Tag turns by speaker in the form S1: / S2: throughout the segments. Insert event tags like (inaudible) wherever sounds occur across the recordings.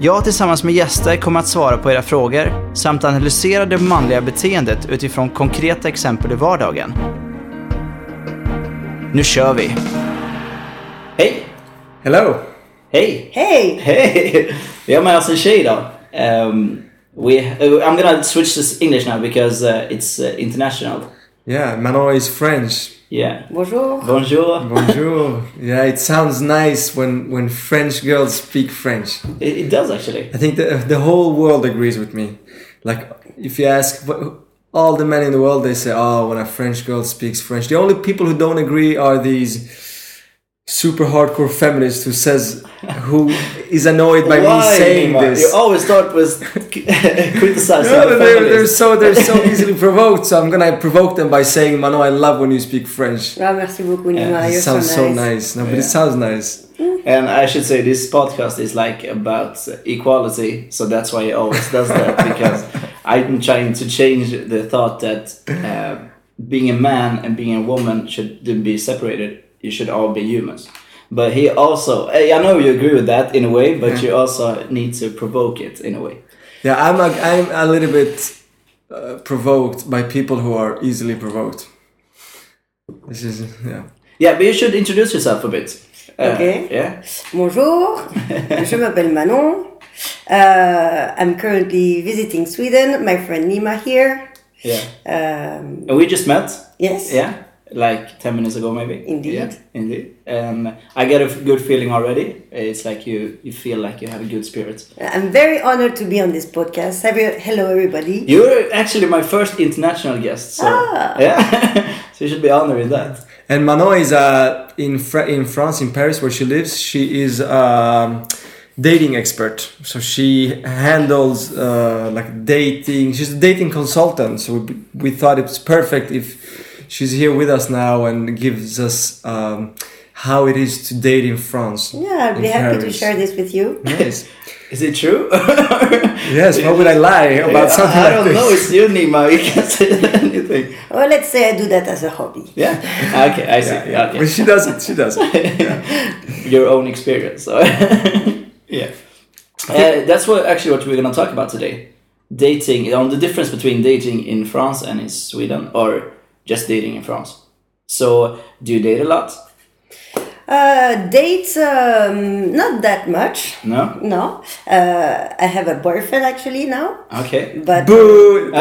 S1: Jag tillsammans med gäster kommer att svara på era frågor samt analysera det manliga beteendet utifrån konkreta exempel i vardagen. Nu kör vi! Hej!
S2: Hello!
S1: Hej!
S3: Hey!
S1: Hey, we have my awesome shade on. Um, we, uh, I'm gonna switch to English now because uh, it's uh, international.
S2: Yeah, Manon is French.
S1: Yeah.
S3: Bonjour.
S1: Bonjour.
S2: Bonjour. yeah, it sounds nice when, when French girls speak French.
S1: It, it does actually.
S2: I think the, the whole world agrees with me. Like, if you ask wh- all the men in the world, they say, oh, when a French girl speaks French. The only people who don't agree are these super hardcore feminists who says, who is annoyed by me saying
S1: Nima?
S2: this.
S1: You always start with (laughs) criticizing.
S2: No,
S1: the
S2: they're, they're
S1: feminists.
S2: so they're so easily provoked. So I'm gonna provoke them by saying, "Mano, I love when you speak French.
S3: Ah, merci beaucoup Nima,
S1: Yeah,
S3: you're
S2: it
S3: so
S2: sounds
S3: nice.
S2: so nice. No, but it sounds nice.
S1: And I should say this podcast is like about equality, so that's why he always does that because I'm trying to change the thought that uh, being a man and being a woman shouldn't be separated. You should all be humans. But he also, I I know you agree with that in a way, but you also need to provoke it in a way.
S2: Yeah, I'm a, I'm a little bit uh, provoked by people who are easily provoked. This is yeah.
S1: Yeah, but you should introduce yourself a bit. Uh,
S3: Okay.
S1: Yeah.
S3: Bonjour, je m'appelle Manon. Uh, I'm currently visiting Sweden. My friend Nima here.
S1: Yeah.
S3: Um,
S1: And we just met.
S3: yes.
S1: Yeah, like 10 minutes ago maybe.
S3: Indeed.
S1: Yeah, indeed. And I get a f- good feeling already. It's like you you feel like you have a good spirit.
S3: I'm very honored to be on this podcast. Every- Hello, everybody.
S1: You're actually my first international guest, so
S3: Ah.
S1: yeah. (laughs) so you should be honored with that.
S2: And Manon is uh, in Fra- in France, in Paris, where she lives. She is um, dating expert. So she handles uh, like dating. She's a dating consultant. So we, we thought it's perfect if she's here with us now and gives us um, how it is to date in France.
S3: Yeah, I'll be
S2: in
S3: happy to
S2: Paris.
S3: share this with you.
S2: Yes.
S1: (laughs) Is it true?
S2: yes. Why would I lie about something
S1: I, I
S2: like
S1: don't
S2: this?
S1: know. (laughs) It's you, Nima. You can't say anything.
S3: Well, Uh, let's say I do that as a hobby.
S1: Yeah. Ah, Okay. I see.
S2: Yeah, yeah.
S1: Okay.
S2: But she does it. She does it.
S1: your own experience. So yeah, uh, that's what actually what we're gonna talk about today: dating on the difference between dating in France and in Sweden, or just dating in France. So, do you date a lot?
S3: Uh, dates, um, not that much.
S1: No.
S3: No. Uh, I have a boyfriend actually now,
S1: Okay.
S3: but
S1: (laughs)
S2: Boo!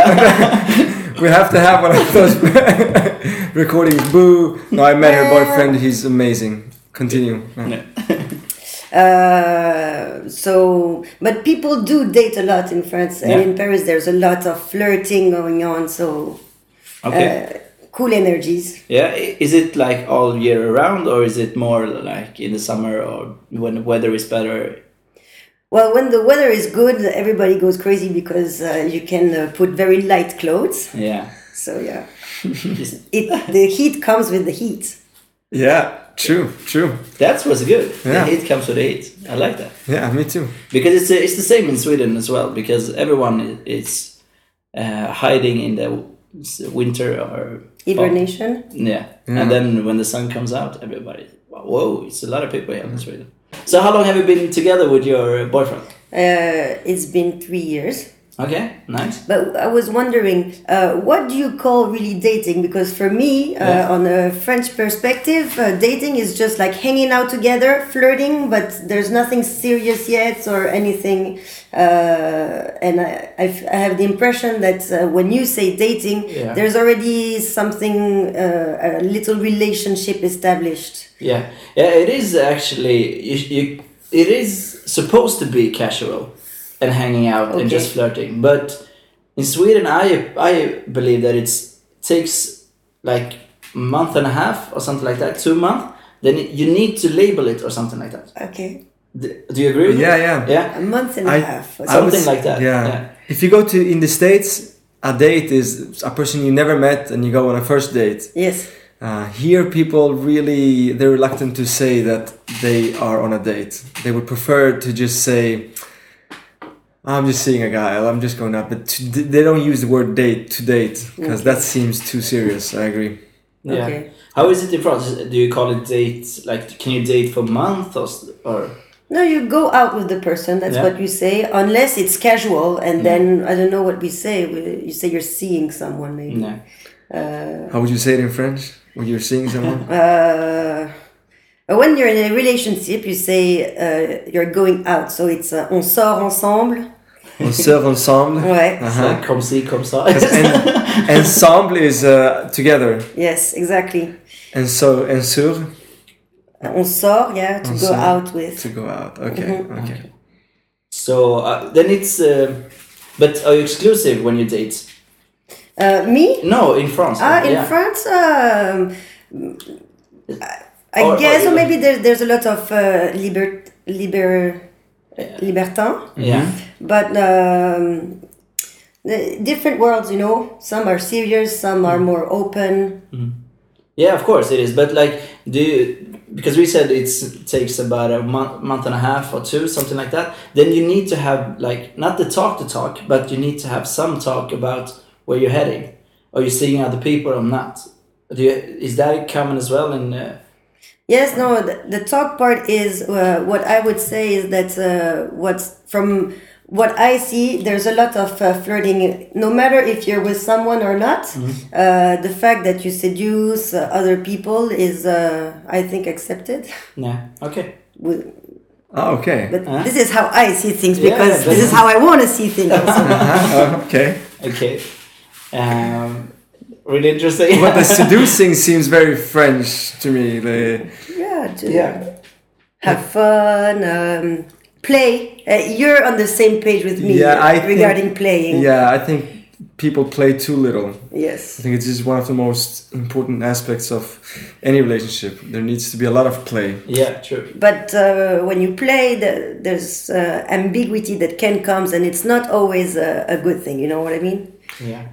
S2: we have to have one of those (laughs) recordings. Boo! No, I met her boyfriend. He's amazing. Continue.
S1: No.
S3: Uh, so, but people do date a lot in France and
S1: Yeah.
S3: in Paris. There's a lot of flirting going on. So, Uh,
S1: Okay.
S3: cool energies.
S1: yeah. i- Is it like all year around, or is it more like in the summer or when the weather is better?
S3: Well, when the weather is good, everybody goes crazy because uh, you can uh, put very light clothes.
S1: Yeah. (laughs)
S3: So yeah,
S1: Just-
S3: it
S1: (laughs)
S3: the heat comes with the heat.
S2: Yeah, true, true.
S1: That's what's good.
S2: Yeah.
S1: The heat comes with the heat. I like that.
S2: Yeah, me too.
S1: because it's it's the same in Sweden as well because everyone i- is uh, hiding in the w- s- winter or
S3: Hibernation.
S1: yeah. and then when the sun comes out everybody whoa it's a lot of people here in Sweden so how long have you been together with your boyfriend
S3: Uh, it's been three years.
S1: okay nice
S3: But I was wondering, uh, what do you call really dating? Because for me, uh,
S1: Yeah.
S3: on a French perspective, uh, dating is just like hanging out together, flirting, but there's nothing serious yet or anything. Uh, and I, I, f- I have the impression that uh, when you say dating,
S1: Yeah.
S3: there's already something, uh, a little relationship established.
S1: yeah yeah it is actually you, you it is supposed to be casual and hanging out and
S3: Okay.
S1: just flirting but in Sweden I I believe that it's takes like month and a half or something like that two month then you need to label it or something like that
S3: Okay.
S1: D- do you agree with
S2: Yeah,
S1: me?
S2: yeah.
S1: yeah
S3: A month and a
S2: I-
S3: half. or
S2: I would
S1: something
S2: s-
S1: like that,
S2: Yeah.
S1: yeah.
S2: If you go to in the states, a date is a person you never met and you go on a first date.
S3: Yes.
S2: Uh, here, people really they're reluctant to say that they are on a date. They would prefer to just say, "I'm just seeing a guy. I'm just going out." But to, they don't use the word date to date because that seems too serious. I agree.
S1: Yeah.
S3: Okay.
S1: How is it in France? Do you call it date? Like, can you date for month or? s- or
S3: No, you go out with the person. That's
S1: Yeah.
S3: what you say, unless it's casual. And then I don't know what we say. We, you say you're seeing someone, maybe.
S1: no.
S2: How would you say it in French when you're seeing someone?
S3: Uh, when you're in a relationship, you say uh, you're going out. So it's uh, on sort ensemble.
S2: on serve ensemble.
S3: (laughs) Ouais.
S1: It's like comme ci, comme ça.
S2: And ensemble is uh, together,
S3: Yes, exactly. Uh,
S2: and so and sur
S3: On sort, yeah, to go
S2: sort.
S3: out with.
S2: to go out. Okay, okay.
S1: so uh, then it's. Uh, but are you exclusive when you date?
S3: Uh, me?
S1: No, in France.
S3: Ah, in
S1: yeah.
S3: France, um, I- I
S1: Or- or
S3: guess, or,
S1: even-
S3: maybe there, there's a lot of uh, liber, liber, libertin.
S1: Yeah.
S3: but um, the different worlds you know some are serious some are more open
S1: Yeah, of course it is. But like, do you, because we said it's, it takes about a month, month and a half or two, something like that. Then you need to have like not the talk to talk, but you need to have some talk about where you're heading. Are you seeing other people or not? Do you, is that common as well? And uh,
S3: yes no the, the talk part is uh, what i would say is that uh, what's from what i see there's a lot of uh, flirting no matter if you're with someone or not
S1: Mm-hmm.
S3: uh, the fact that you seduce uh, other people is uh, i think accepted (laughs)
S1: yeah, okay.
S3: with,
S2: Ah, okay.
S3: but this is how i see things
S1: Yeah,
S3: because
S1: but-
S3: this is how i want to see things
S1: (laughs)
S3: also.
S2: Ah, okay.
S1: Okay. Um, really interesting.
S2: But the seducing seems very French to me. The
S3: yeah, to-
S1: yeah.
S3: have fun, um, play. Uh, you're on the same page with me
S2: Yeah, I think-
S3: regarding playing.
S2: yeah, I think people play too little. I
S3: Yes.
S2: think it's just one of the most important aspects of any relationship. There needs to be a lot of play.
S1: (laughs) Yeah, true.
S3: But uh, when you play, the, there's uh, ambiguity that can comes, and it's not always a, a good thing. You know what I mean?
S1: Yeah.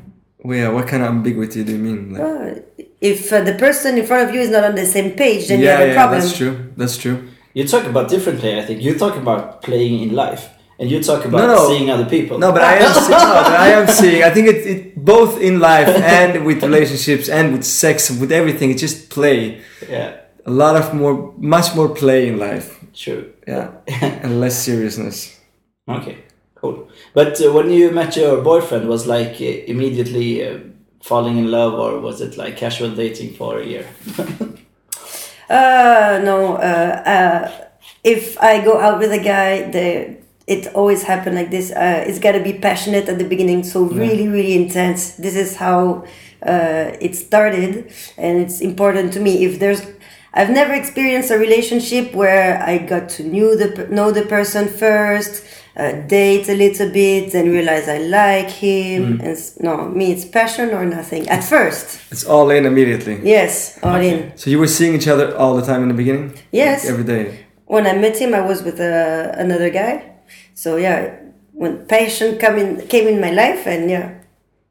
S2: Well, yeah, what kind of ambiguity do you mean? Like,
S3: Uh, if uh, the person in front of you is not on the same page, then you
S2: yeah,
S3: have a
S2: yeah,
S3: problem.
S2: that's true. That's true.
S1: You talk about differently, I think. You talk about playing in life, and you talk about
S2: No, no.
S1: seeing other people.
S2: No, but I am seeing. No, but I
S3: (laughs)
S2: am seeing. I think it, it both in life and with relationships and with sex, with everything. It's just play.
S1: yeah,
S2: A lot of more, much more play in life.
S1: true.
S2: Yeah, and less seriousness.
S1: Okay, cool. But uh, when you met your boyfriend, was like uh, immediately uh, falling in love, or was it like casual dating for a year?
S3: Uh, no. Uh, uh, if I go out with a guy, the it always happen like this. Uh, it's got to be passionate at the beginning, so really, really intense. This is how uh, it started, and it's important to me. If there's, I've never experienced a relationship where I got to knew the per- know the person first, uh, date a little bit, then realize I like him. And s- no, me, it's passion or nothing at first.
S2: It's all in immediately.
S3: Yes, all in.
S2: So you were seeing each other all the time in the beginning?
S3: Yes.
S2: Like every day.
S3: when I met him, I was with uh, another guy. So yeah, when passion come in, came in my life, and yeah,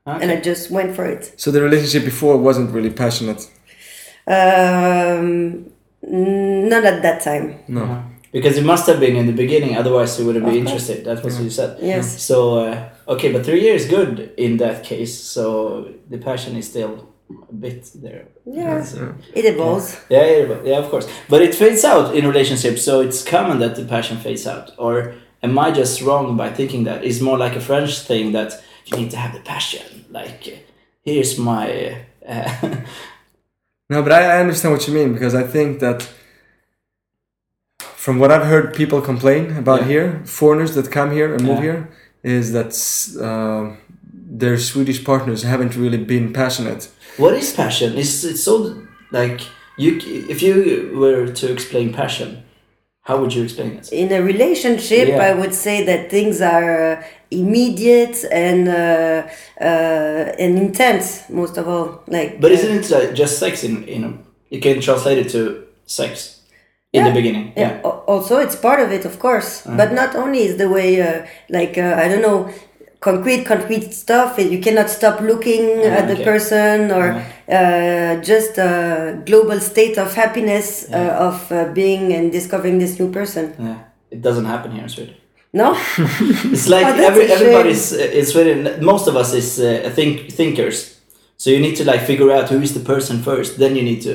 S3: and I just went for it.
S2: So the relationship before wasn't really passionate.
S3: Um, n- not at that time.
S2: No.
S1: uh-huh. Because it must have been in the beginning, otherwise you wouldn't be interested. That was what you said.
S3: Yes.
S1: So uh, okay, but three years good in that case. So the passion is still a bit there. uh,
S3: Yeah,
S1: So-
S3: it evolves.
S1: Yeah, yeah, but- yeah, of course. But it fades out in relationships, so it's common that the passion fades out. Or am I just wrong by thinking that? It's more like a French thing that you need to have the passion. Like, uh, here's my. Uh, (laughs)
S2: No, but I, I understand what you mean because I think that from what I've heard people complain about
S1: Yeah.
S2: here, foreigners that come here and move
S1: Yeah.
S2: here, is that uh, their Swedish partners haven't really been passionate.
S1: what is passion? It's, it's so. Like, you, c- if you were to explain passion, how would you explain it?
S3: In a relationship,
S1: Yeah.
S3: I would say that things are uh, immediate and uh, uh, and intense most of all. Like,
S1: But isn't it uh, just sex in, in a, You can translate it to sex in the
S3: Yeah.
S1: beginning.
S3: yeah. al- Also, it's part of it, of course, but not only is the way, uh, like uh, I don't know, concrete, concrete stuff, and you cannot stop looking at the
S1: okay.
S3: person or uh, just a global state of happiness uh, of uh, being and discovering this new person.
S1: Yeah. It doesn't happen here in Sweden.
S3: No?
S1: It's like
S3: Oh, that's
S1: every,
S3: a shame.
S1: everybody's uh, in Sweden. Most of us is uh, think thinkers, so you need to like figure out who is the person first. Then you need to,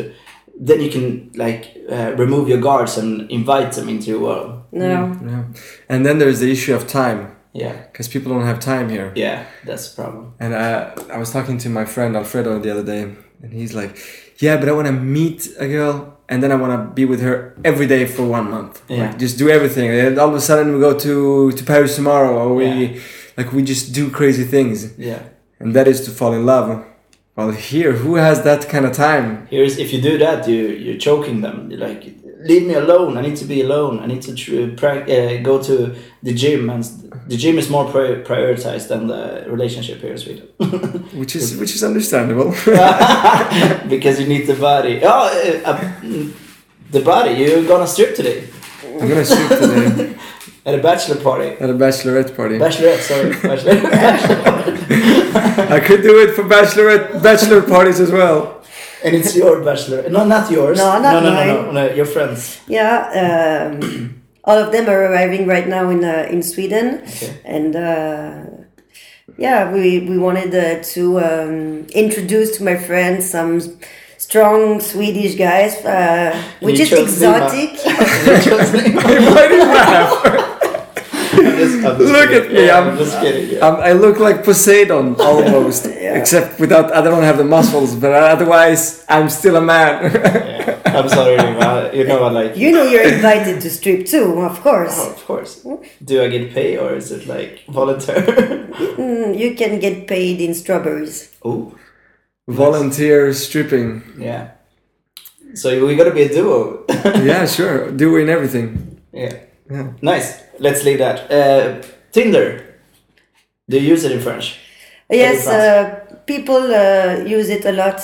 S1: then you can like uh, remove your guards and invite them into your world.
S3: no.
S2: Yeah. And then there's the issue of time,
S1: Yeah,
S2: because people don't have time here.
S1: yeah, that's the problem.
S2: And I, I was talking to my friend Alfredo the other day, and he's like, "Yeah, but I want to meet a girl, and then I want to be with her every day for one month.
S1: Yeah.
S2: Like, just do everything. And all of a sudden, we go to to Paris tomorrow, or we
S1: Yeah.
S2: like we just do crazy things,
S1: Yeah,
S2: and that is to fall in love. Well, here, who has that kind of time?
S1: here is if you do that, you you're choking them. You're like, leave me alone. I need to be alone. I need to tr- pra- uh, go to the gym, and s- the gym is more pri- prioritized than the relationship here in Sweden. (laughs)
S2: Which is which is understandable. (laughs)
S1: because you need the body. Oh, uh, uh, the body. You're gonna strip today
S2: I'm gonna shoot today
S1: at a bachelor party.
S2: at a bachelorette party.
S1: Bachelorette, sorry,
S3: (laughs)
S1: bachelorette.
S2: I could do it for bachelorette bachelor parties as well.
S1: and it's your bachelor. No, not yours.
S3: No,
S1: no, no,
S3: not
S1: no, no,
S3: mine.
S1: no, Your friends.
S3: Yeah, um, all of them are arriving right now in uh, in Sweden,
S1: (laughs) Okay.
S3: and uh, yeah, we we wanted uh, to um, introduce to my friends some strong Swedish guys, uh, which
S1: you
S3: is
S1: chose Lima.
S3: exotic.
S1: You chose me.
S2: (laughs) Why do you laugh?
S1: I'm just- I'm just
S2: Look
S1: kidding.
S2: at me,
S1: Yeah,
S2: I'm-
S1: I'm just kidding. yeah.
S2: Um, I look like Poseidon almost, except without I don't have the muscles, but otherwise I'm still a man. (laughs)
S1: Yeah. I'm sorry, Lima. You know I like.
S3: you know, you're invited to strip too, of course.
S1: Oh, of course. Do I get paid or is it like volunteer?
S3: Mm, you can get paid in strawberries.
S1: (laughs) oh,
S2: Volunteer stripping,
S1: yeah. So we gotta be a duo. (laughs)
S2: yeah, sure, doing everything.
S1: Yeah. Nice. Let's leave that. Uh, Tinder. Do you use it in French?
S3: Yes,
S1: fast.
S3: uh, people uh, use it a lot.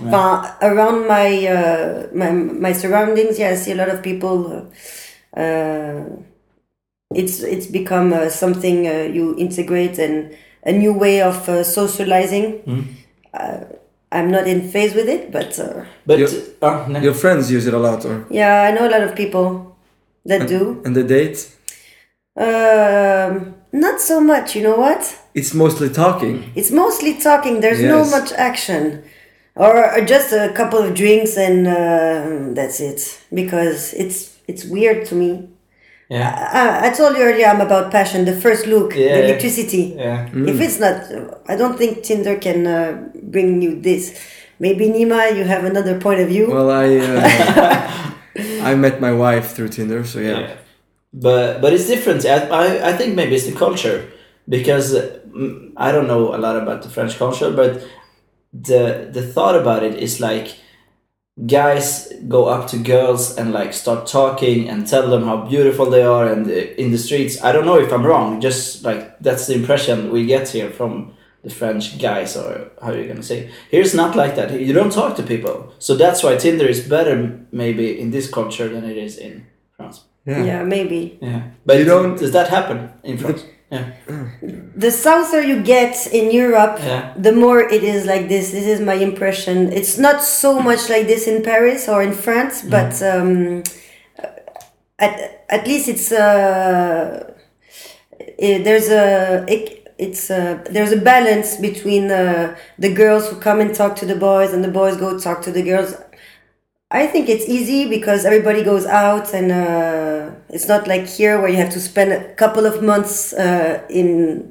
S3: Enfin, around my, uh, my my surroundings, yeah, I see a lot of people. Uh, uh, it's it's become uh, something uh, you integrate and a new way of uh, socializing. Uh, I'm not in phase with it, but uh,
S1: But
S2: You-
S1: oh, no.
S2: Your friends use it a lot, or
S3: yeah, I know a lot of people that do.
S2: and the date,
S3: Um, not so much, you know what?
S2: it's mostly talking.
S3: It's mostly talking. There's no
S2: Yes.
S3: much action, or, or just a couple of drinks and uh, that's it. Because it's it's weird to me.
S1: yeah,
S3: I, I told you earlier I'm about passion. The first look,
S1: Yeah.
S3: the electricity.
S1: yeah,
S2: Mm.
S3: If it's not, I don't think Tinder can uh, bring you this. Maybe Nima, you have another point of view.
S2: Well, I uh, I met my wife through Tinder, so yeah.
S1: yeah. But but it's different. I, I I think maybe it's the culture because mm, I don't know a lot about the French culture, but the the thought about it is like guys go up to girls and like start talking and tell them how beautiful they are and uh, in the streets i don't know if i'm wrong just like that's the impression we get here from the french guys or how you're gonna say here it's not like that you don't talk to people so that's why tinder is better maybe in this culture than it is in france
S2: yeah.
S3: yeah, maybe.
S1: yeah but
S2: You don't-
S1: does that happen in (laughs) france yeah
S3: the souther you get in Europe,
S1: Yeah.
S3: the more it is like this. This is my impression. It's not so much like this in Paris or in France, but um, at at least it's uh, eh, there's a it, it's a, there's a balance between uh, the girls who come and talk to the boys and the boys go talk to the girls. I think it's easy because everybody goes out and uh, it's not like here where you have to spend a couple of months uh, in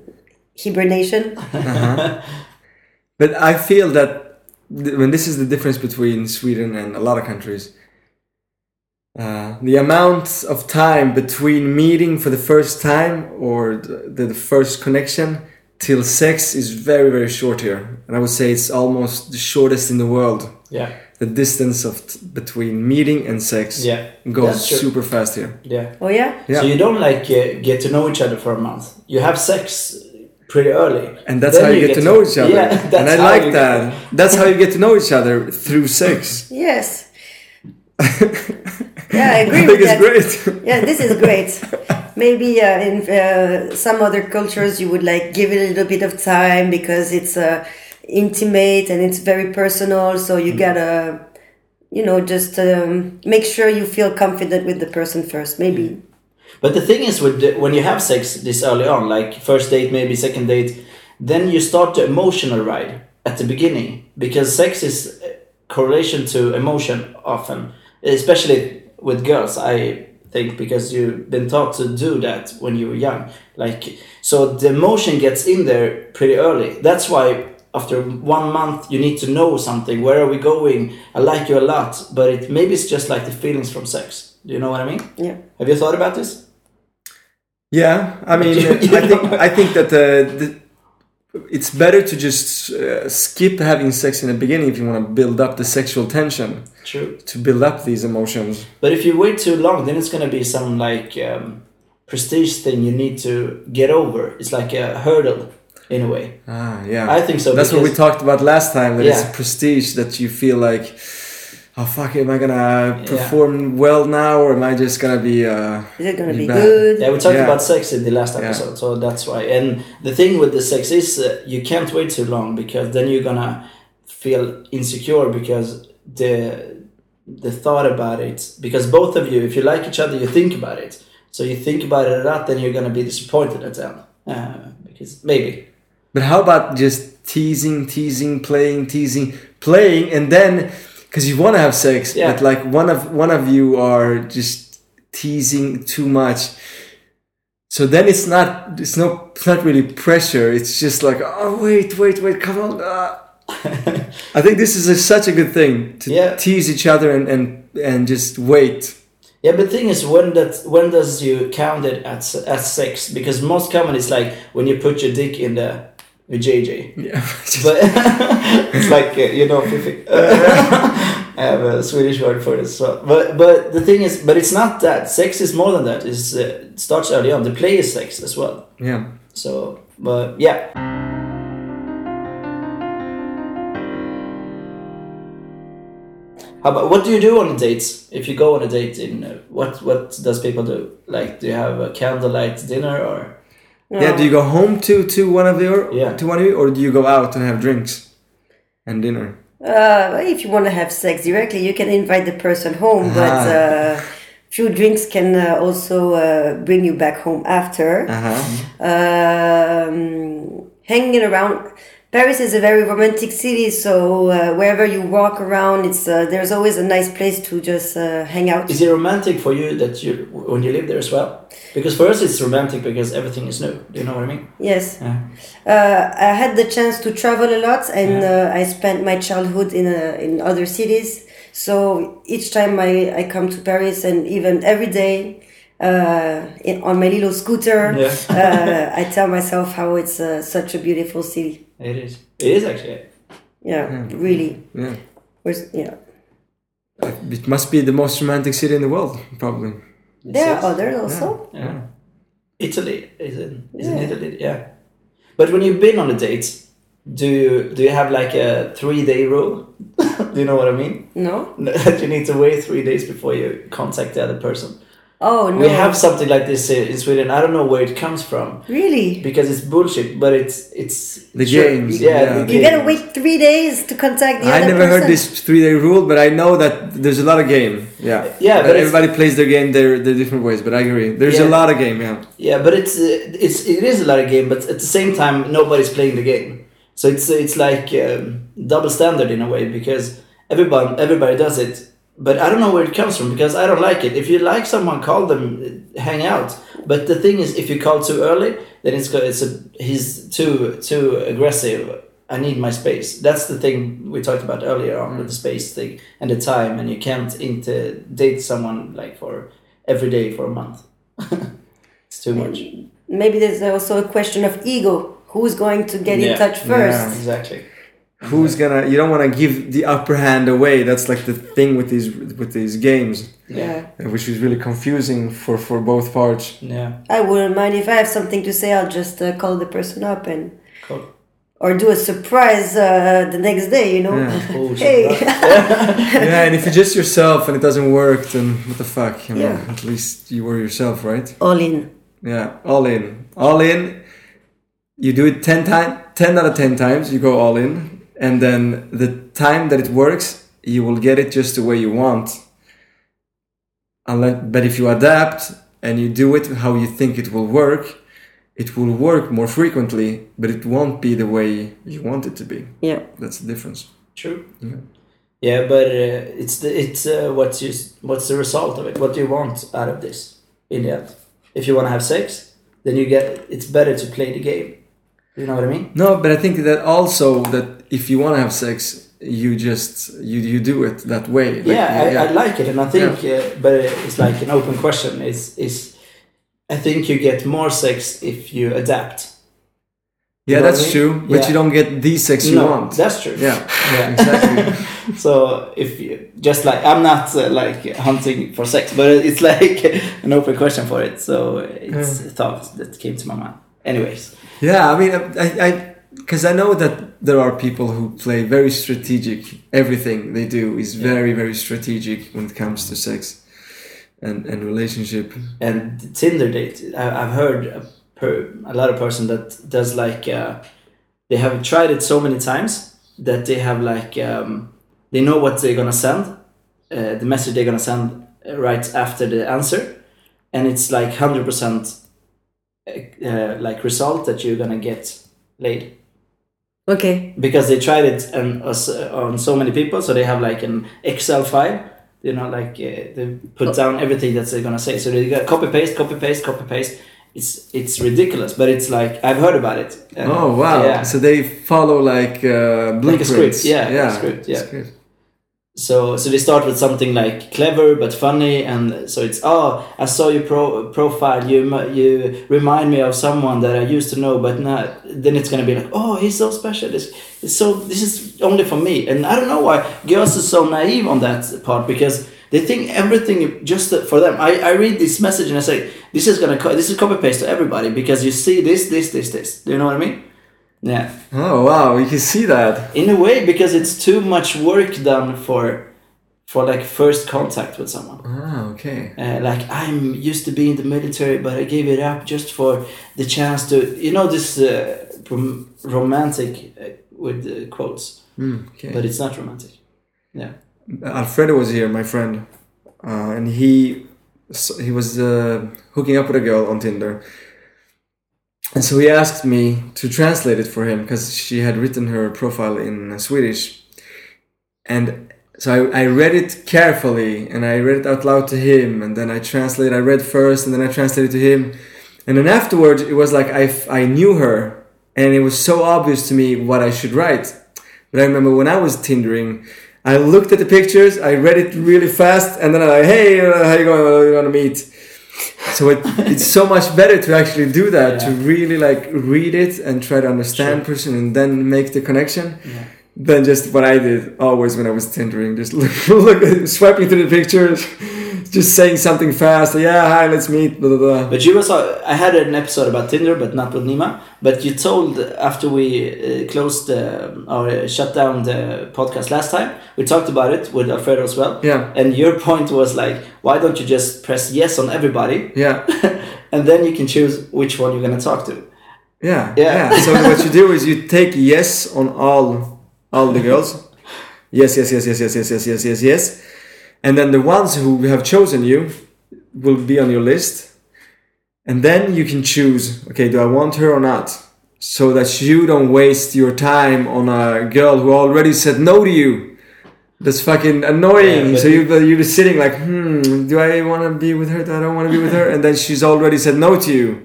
S3: hibernation.
S2: (laughs) Uh-huh. But I feel that th- when this is the difference between Sweden and a lot of countries, uh, the amount of time between meeting for the first time or the, the first connection till sex is very very short here, and I would say it's almost the shortest in the world.
S1: yeah
S2: The distance of t- between meeting and sex
S1: Yeah,
S2: goes
S1: that's true.
S2: super fast here.
S1: yeah
S3: Oh yeah,
S2: Yeah.
S1: So you don't like uh, get to know each other for a month. You have sex pretty early,
S2: And that's
S1: Then
S2: how you, get, to know each other.
S1: (laughs) Yeah, that's
S2: and I
S1: how
S2: like
S1: you-
S2: that.
S1: (laughs)
S2: (laughs) That's how you get to know each other through sex.
S3: yes. Yeah, I agree
S2: I
S3: with
S2: think
S3: that.
S2: it's great.
S3: Yeah, this is great. Maybe uh, in uh, some other cultures you would like give it a little bit of time because it's uh, intimate and it's very personal. So
S2: Mm-hmm.
S3: you gotta, you know, just um, make sure you feel confident with the person first. Maybe
S1: But the thing is, with the, when you have sex this early on, like first date, maybe second date, then you start the emotional ride at the beginning because sex is uh, correlation to emotion often, especially with girls. I think because you've been taught to do that when you were young, like so the emotion gets in there pretty early. That's why after one month you need to know something. Where are we going? I like you a lot, but it maybe it's just like the feelings from sex. Do you know what I mean?
S2: Mm.
S3: yeah.
S1: Have you thought about this?
S2: Yeah, I mean,
S1: You- (laughs) you
S2: I think
S1: know.
S2: I think that uh, the, it's better to just uh, skip having sex in the beginning if you want to build up the sexual tension
S1: True.
S2: to build up these emotions.
S1: But if you wait too long, then it's gonna be some like um, prestige thing you need to get over. It's like a hurdle in a way.
S2: Ah, yeah,
S1: I think so,
S2: That's what we
S1: because-
S2: talked about last time. That
S1: Yeah.
S2: it's prestige that you feel like, oh fuck, am I gonna perform well now, or am I just gonna be? Uh,
S3: Is it gonna
S2: be
S3: be
S2: bad?
S3: good?
S1: Yeah, we talked
S2: Yeah.
S1: about sex in the last episode, so that's why. And the thing with the sex is uh, you can't wait too long because then you're gonna feel insecure because the the thought about it. Because both of you, if you like each other, you think about it. So you think about it a lot, then you're gonna be disappointed at the end. Uh, because maybe
S2: But how about just teasing, teasing, playing, teasing, playing, and then because you want to have sex,
S1: Yeah.
S2: but like one of one of you are just teasing too much. So then it's not it's not it's not really pressure. It's just like oh wait wait wait come on.
S1: (laughs)
S2: ah." I think this is a, such a good thing to
S1: Yeah.
S2: tease each other and and and just wait.
S1: Yeah, but thing is, when that when does you count it as as sex? Because most common is like when you put your dick in the vajayjay.
S2: (laughs) Yeah.
S1: But (laughs) it's like uh, you know, fifi- (laughs) I have a Swedish word for this. So, but but the thing is, but it's not that. Sex is more than that. It's, uh, it starts early on. The play is sex as well.
S2: yeah.
S1: So, but yeah. How about, what do you do on a date? If you go on a date, in uh, what what does people do? Like, do you have a candlelight dinner or?
S2: Yeah. Do you go home to to one of your
S1: Yeah.
S2: to one of you, or do you go out and have drinks and dinner?
S3: Uh, if you want to have sex directly, you can invite the person home, but
S2: Ah.
S3: uh, few drinks can uh, also uh, bring you back home after.
S2: Uh-huh.
S3: Mm-hmm. um, hanging around. Paris is a very romantic city, so uh, wherever you walk around, it's uh, there's always a nice place to just uh, hang out.
S1: Is it romantic for you that you when you live there as well? Because for us, it's romantic because everything is new. Do you know what I mean?
S3: Yes,
S1: Yeah.
S3: uh, I had the chance to travel a lot, and uh, I spent my childhood in uh, in other cities. So each time I, I come to Paris, and even every day uh, in, on my little scooter,
S1: Yeah.
S3: uh, I tell myself how it's uh, such a beautiful city.
S1: (laughs) It is. It is actually.
S3: Yeah, really.
S2: Yeah.
S3: Where's- Yeah.
S2: It must be the most romantic city in the world, probably.
S3: There
S1: Yes.
S3: are others also.
S1: Yeah. Italy is in is in
S3: Yeah.
S1: Italy, yeah. But when you've been on a date, do you do you have like a three day rule? (laughs) do you know what I mean? (laughs)
S3: No.
S1: That you need to wait three days before you contact the other person.
S3: Oh no.
S1: We have something like this here in Sweden. I don't know where it comes from
S3: really.
S1: because it's bullshit, but it's it's
S2: The
S1: sure,
S2: games,
S1: Yeah,
S2: yeah.
S1: the
S3: You
S1: game.
S3: gotta wait three days to contact the
S2: I
S3: other
S2: never
S3: person.
S2: heard this three-day rule, but I know that there's a lot of game. Yeah.
S1: Yeah, but
S2: That
S1: it's-
S2: everybody plays their game their, their different ways, but I agree. There's a
S1: Yeah.
S2: lot of game. Yeah.
S1: Yeah, but it's uh, it's it is a lot of game, but at the same time, nobody's playing the game. So it's it's like um, double standard in a way because everyone everybody does it. But I don't know where it comes from because I don't like it. If you like someone, call them, uh, hang out. But the thing is, if you call too early, then it's go- it's a, he's too too aggressive. I need my space. That's the thing we talked about earlier on with the space thing and the time, and you can't inter date someone like for every day for a month. (laughs) it's too much.
S3: Maybe there's also a question of ego. Who's going to get
S1: Yeah.
S3: in touch first?
S1: Exactly.
S2: Who's gonna? You don't want to give the upper hand away. That's like the thing with these with these games,
S1: Yeah.
S2: uh, which is really confusing for for both parts.
S1: Yeah.
S3: I wouldn't mind if I have something to say. I'll just uh, call the person up and
S1: Cool.
S3: or do a surprise uh, the next day, you know?
S2: Yeah.
S1: Oh, shit.
S3: Hey,
S2: yeah, and if you're just yourself and it doesn't work, then what the fuck? You know,
S3: Yeah.
S2: At least you were yourself, right?
S3: (laughs) all in.
S2: Yeah, all in. All in. You do it 10 times, 10 out of 10 times, you go all in. And then the time that it works, you will get it just the way you want. Unless, but if you adapt and you do it how you think it will work, it will work more frequently, but it won't be the way you want it to be.
S3: Yeah.
S2: That's the difference.
S1: True.
S2: Yeah.
S1: Yeah, but uh, it's the it's uh, what's you what's the result of it? What do you want out of this in the end? If you want to have sex, then you get it's better to play the game. You know what I mean?
S2: No, but I think that also that if you want to have sex, you just you you do it that way. Like,
S1: yeah, I, I like it, and I think, uh, but it's like an open question. Is is I think you get more sex if you adapt.
S2: Yeah,
S1: You know
S2: that's
S1: what I mean?
S2: true. But
S1: Yeah.
S2: you don't get the sex you
S1: no,
S2: want.
S1: that's true.
S2: yeah,
S1: Yeah.
S2: exactly. (laughs)
S1: So if you just like I'm not uh, like hunting for sex, but it's like an open question for it. So it's a thought that came to my mind. Anyways,
S2: yeah, I mean, I, I, because I know that there are people who play very strategic. Everything they do is very, very strategic when it comes to sex and and relationship.
S1: and the Tinder date, I, I've heard a, per, a lot of person that does like uh, they have tried it so many times that they have like um, they know what they're gonna send, uh, the message they're gonna send uh, right after the answer, and it's like hundred percent uh, like result that you're gonna get laid.
S3: Okay.
S1: because they tried it and us uh, on so many people, so they have like an Excel file. You know, like uh, they put down everything that they're gonna say. So they got copy paste, copy paste, copy paste. It's it's ridiculous, but it's like I've heard about it. And,
S2: Oh wow!
S1: Yeah.
S2: So they follow like uh, blueprints.
S1: script, yeah,
S2: yeah,
S1: script, yeah.
S2: script.
S1: So so they start with something like clever but funny, and so it's oh I saw your pro- profile. You m- you remind me of someone that I used to know, but not. Then it's gonna be like oh he's so special. It's, it's so this is only for me, and I don't know why girls are so naive on that part because they think everything just for them. I, I read this message and I say this is gonna co- this is copy paste to everybody because you see this this this this. Do you know what I mean? Yeah
S2: Oh wow! You can see that.
S1: in a way because it's too much work done for for like first contact with someone
S2: Ah, okay.
S1: uh, like i'm used to be in the military but i gave it up just for the chance to you know this uh, rom- romantic uh, with uh, quotes
S2: Mm, okay.
S1: but it's not romantic yeah
S2: Alfredo was here, my friend, uh, and he so he was uh, hooking up with a girl on Tinder, and so he asked me to translate it for him because she had written her profile in Swedish, and so I, I read it carefully and I read it out loud to him, and then I translated. I read first, and then I translated to him, and then afterwards it was like I f- I knew her, and it was so obvious to me what I should write. But I remember when I was Tindering, I looked at the pictures, I read it really fast, and then I like, hey, uh, how you going? What are you gonna meet? So it, it's so much better to actually do that, to
S1: Yeah.
S2: really like read it and try to understand person and then make the connection. Than just what I did always when I was Tindering, just (laughs) look, look swiping through the pictures, just saying something fast. Yeah, hi, let's meet. Blah, blah, blah.
S1: But you was I had an episode about Tinder, but not with Nima. But you told after we uh, closed uh, or uh, shut down the podcast last time, we talked about it with Alfredo as well.
S2: Yeah.
S1: And your point was like, why don't you just press yes on everybody,
S2: Yeah.
S1: (laughs) and then you can choose which one you're gonna talk to.
S2: Yeah,
S1: Yeah.
S2: yeah. So what you do is you take yes on all all the girls. Yes, yes, yes, yes, yes, yes, yes, yes, yes, yes. And then the ones who have chosen you will be on your list. And then you can choose, okay, do I want her or not? So that you don't waste your time on a girl who already said no to you. That's fucking annoying.
S1: Yeah, but
S2: so you, but you're sitting like, hmm, do I want to be with her? Do I don't want to be with her? And then she's already said no to you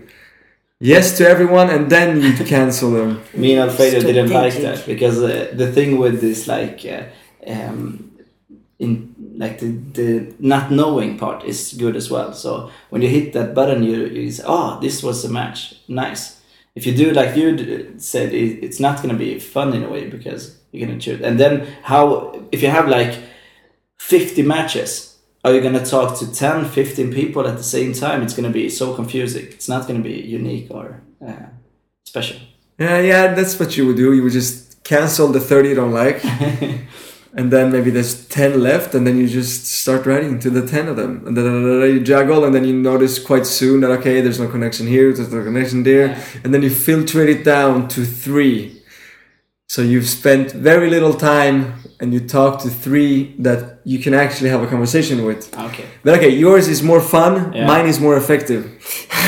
S2: yes to everyone and then you cancel them.
S1: Me and Alfredo didn't like
S3: Strategic.
S1: that because uh, the thing with this like. Uh, um, in like the, the not knowing part is good as well. So when you hit that button, you you say, "Oh, this was a match, nice." If you do like you d- said, it, it's not gonna be fun in a way because you're gonna choose. And then how if you have like fifty matches, are you gonna talk to 10, 15 people at the same time? It's gonna be so confusing. It's not gonna be unique or uh, special.
S2: Yeah, yeah, that's what you would do. You would just cancel the 30 you don't like. and then maybe there's 10 left, and then you just start writing to the 10 of them. And then you juggle, and then you notice quite soon that, okay, there's no connection here, there's no connection there. And then you filtrate it down to three. So you've spent very little time and you talk to three that you can actually have a conversation with.
S1: Okay.
S2: But okay, yours is more fun,
S1: Yeah.
S2: mine is more effective.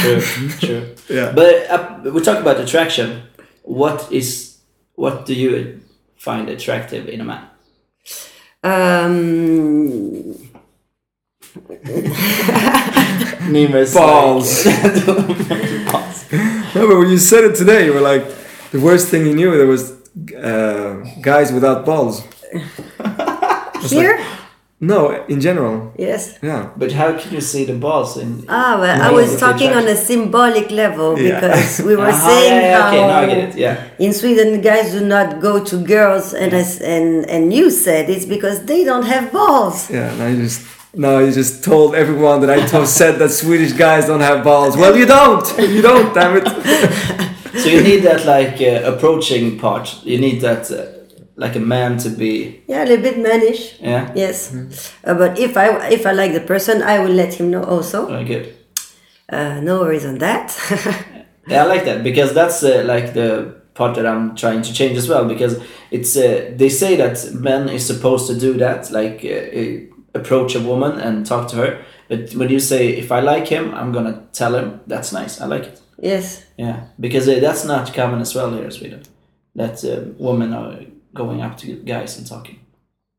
S1: True. true.
S2: Yeah.
S1: But uh, we talk about attraction. What is what do you find attractive in a man?
S3: Um,
S1: (laughs) Nima's
S2: Balls.
S1: Balls.
S2: No, but when you said it today, you were like, the worst thing you knew there was uh, guys without balls.
S3: here?
S2: No, in general,
S3: yes.
S2: yeah.
S1: But how can you see the balls in?
S3: Ah, well, I
S1: Maybe
S3: was
S1: it's
S3: talking on
S1: attraction.
S3: a symbolic level
S2: Yeah.
S3: because
S1: (laughs)
S3: we were
S1: Aha,
S3: saying
S1: Uh-huh. yeah, yeah,
S3: how
S1: okay, now I get it. Yeah.
S3: in Sweden guys do not go to girls, and I s and and you said it's because they don't have balls.
S2: Yeah, now you just now you just told everyone that I
S1: (laughs)
S2: told said that Swedish guys don't have balls. Well, you don't. You don't. Damn it.
S1: (laughs) So you need that like uh, approaching part. You need that uh, like a man to be.
S3: Yeah, a little bit mannish.
S1: Yeah. Mm-hmm.
S3: Yes, Uh, but if I if I like the person, I will let him know also.
S1: Very good.
S3: Uh, no worries on that. (laughs)
S1: Yeah, I like that because that's uh, like the part that I'm trying to change as well. Because it's uh, they say that men is supposed to do that, like uh, uh, approach a woman and talk to her. But when you say if I like him, I'm gonna tell him that's nice. I like it.
S3: yes,
S1: Yeah, because uh, that's not common as well here in Sweden. That uh, women are going up to guys and talking.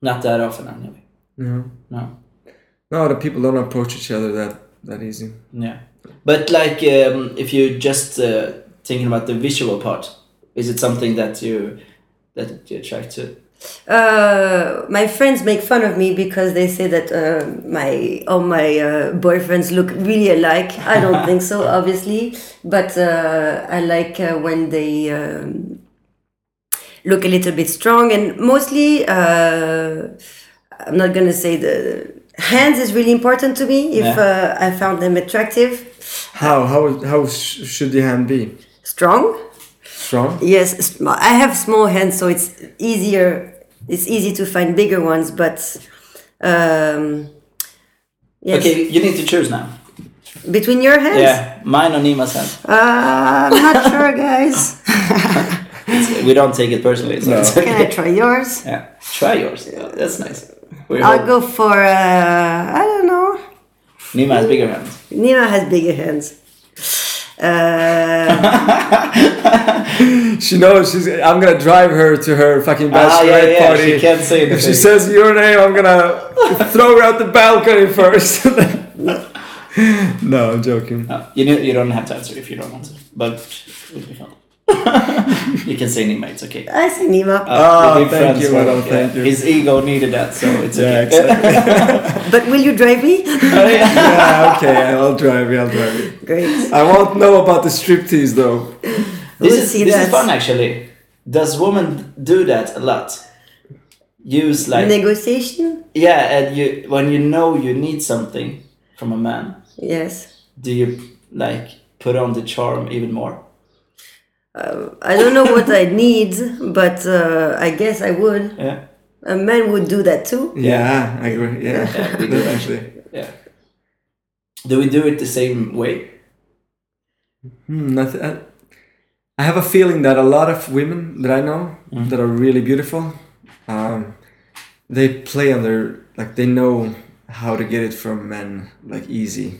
S1: Not that often, anyway.
S2: No,
S1: No.
S2: no, the people don't approach each other that that easy.
S1: Yeah. But like, um, if you just uh, thinking about the visual part, is it something that you that you attract to?
S3: uh, my friends make fun of me because they say that uh, my all my uh, boyfriends look really alike. I don't think so, obviously, but uh, I like uh, when they. Um, look a little bit strong and mostly uh, i'm not gonna say the hands is really important to me if
S1: Yeah.
S3: uh, i found them attractive
S2: How how how sh- should the hand be?
S3: strong
S2: Strong. (laughs)
S3: Yes, sm- I have small hands, so it's easier. It's easy to find bigger ones, but um, yes,
S1: Okay, you need to choose now.
S3: between your hands,
S1: Yeah, mine or Nima's hand.
S3: uh, I'm not (laughs) sure, guys.
S1: We don't take it personally. So
S2: No.
S1: it's
S3: Can I
S1: okay.
S3: try yours?
S1: (laughs) Yeah, try yours. Yeah, that's nice. We're
S3: I'll go for uh, I don't know.
S1: Nima has bigger hands.
S3: Nina has bigger hands. Uh,
S2: She knows she's. I'm gonna drive her to her fucking
S1: Ah,
S2: bachelorette
S1: yeah, yeah,
S2: party.
S1: she can't say
S2: if she
S1: anything.
S2: says your name, I'm gonna throw her out the balcony first. (laughs) no, I'm joking.
S1: No, you know, you don't have to answer if you don't want to, but it would be fun. (laughs) you can say Nima, it's okay.
S3: I say
S1: (laughs)
S3: Nima,
S1: Oh.
S2: Ah,
S1: we've been
S2: thank
S1: friends
S2: you,
S1: for-
S2: madam, thank you.
S1: His ego needed that, so it's
S2: Yeah,
S1: okay.
S2: exactly.
S3: but will you drive
S1: (laughs)
S3: me?
S2: yeah, okay. I'll drive you. I'll drive you.
S3: Great.
S2: I won't know about the striptease though.
S1: This
S3: We'll
S1: is
S3: see
S1: this is
S3: that.
S1: fun actually. Does women do that a lot? Use like
S3: Negotiation?
S1: yeah, and you when you know you need something from a man,
S3: Yes.
S1: do you like put on the charm even more?
S3: I don't know what I need, but uh, I guess I would.
S1: Yeah,
S3: A man would do that too.
S2: Yeah, I agree. Yeah,
S1: (laughs) Yeah, we do
S2: That's
S1: actually.
S2: actually.
S1: yeah. Do we do it the same way?
S2: Hmm, I, th- I- I have a feeling that a lot of women that I know that are really beautiful, um, they play on their like they know how to get it from men like easy.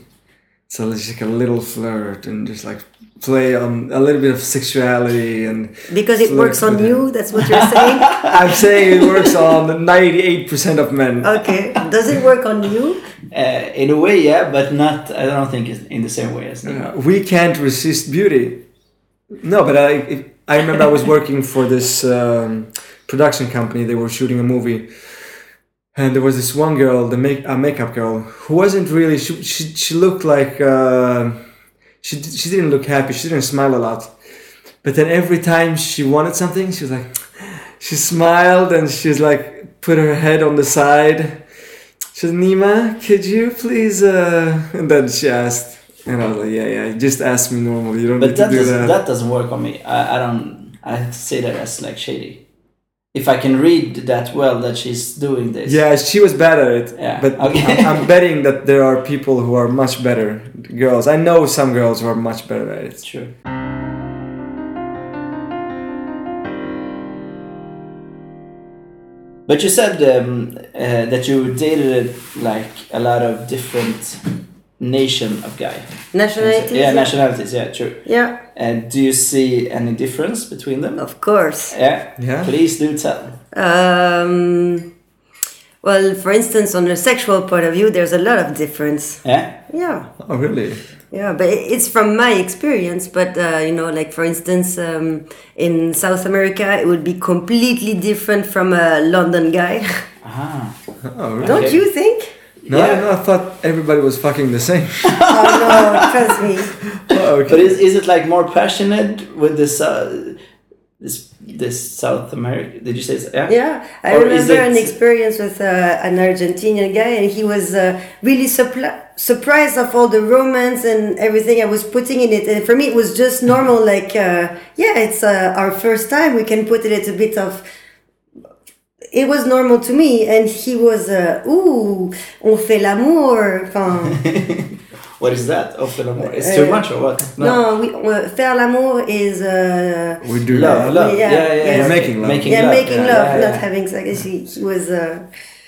S2: So it's like a little flirt and just like play on a little bit of sexuality and
S3: Because it
S2: flirt
S3: works on
S2: with him.
S3: you, that's what you're saying?
S2: I'm saying it works on 98% of men.
S3: Okay. Does it work on you?
S1: Uh, in a way, yeah, but not. I don't think it's in the same way as Nima.
S2: Uh, we can't resist beauty. No, but I if- I remember I was working for this um, production company. They were shooting a movie, and there was this one girl, the make a makeup girl, who wasn't really. She she, she looked like uh, she d- she didn't look happy. She didn't smile a lot. But then every time she wanted something, she was like, (gasps) she smiled and she's like put her head on the (laughs) side. She said, Nima, could you please? Uh... And then she asked, And I was like, yeah, yeah, just ask me normal. You don't
S1: But
S2: need to
S1: that
S2: do
S1: doesn't,
S2: that.
S1: that doesn't work on me. I, I don't. I say that as like shady. If I can read that well, that she's doing this.
S2: Yeah, she was bad at it.
S1: Yeah,
S2: But
S1: okay.
S2: I'm, I'm betting that there are people who are much better girls. I know some girls who are much better at it.
S1: Sure. But you said um, uh, that you dated like a lot of different nation of guy.
S3: Nationalities?
S1: Yeah, nationalities. Yeah, true.
S3: Yeah,
S1: And do you see any difference between them?
S3: of course.
S1: Yeah.
S2: Yeah.
S1: Please do tell.
S3: Um, well, for instance, on a sexual point of view, there's a lot of difference.
S1: Yeah.
S3: Yeah.
S2: Oh, really?
S3: Yeah, but it- it's from my experience. But uh, you know, like for instance, um, in South America, it would be completely different from a London guy. (laughs)
S1: Ah.
S2: Oh, really?
S3: Don't you think?
S2: No,
S1: Yeah.
S2: no, I thought everybody was fucking the same. (laughs)
S3: Oh no, trust me.
S2: oh,
S1: But
S2: okay.
S1: is, is it like more passionate with this uh, this this South America? Did you say so? yeah?
S3: Yeah, I
S1: Or is
S3: remember
S1: it-
S3: an experience with uh, an Argentinian guy, and he was uh, really suppl- surprised of all the romance and everything I was putting in it. And for me, it was just normal.
S1: Mm-hmm.
S3: Like, uh, yeah, it's uh, our first time. We can put a little bit of. It was normal to me, and he was, uh, ooh, on fait l'amour. Enfin,
S1: (laughs) What is that? Of the amor? It's too
S3: Uh,
S1: much or what?
S3: no, we, uh, faire l'amour is. Uh,
S2: We do
S1: Love,
S2: that.
S1: love. Yeah,
S3: Yeah,
S1: yeah, yeah.
S3: yeah.
S1: okay.
S2: Making love.
S1: Making
S3: yeah,
S1: love.
S3: making
S1: yeah,
S3: love,
S1: yeah,
S3: not
S1: yeah.
S3: having sex. He, he was. Uh,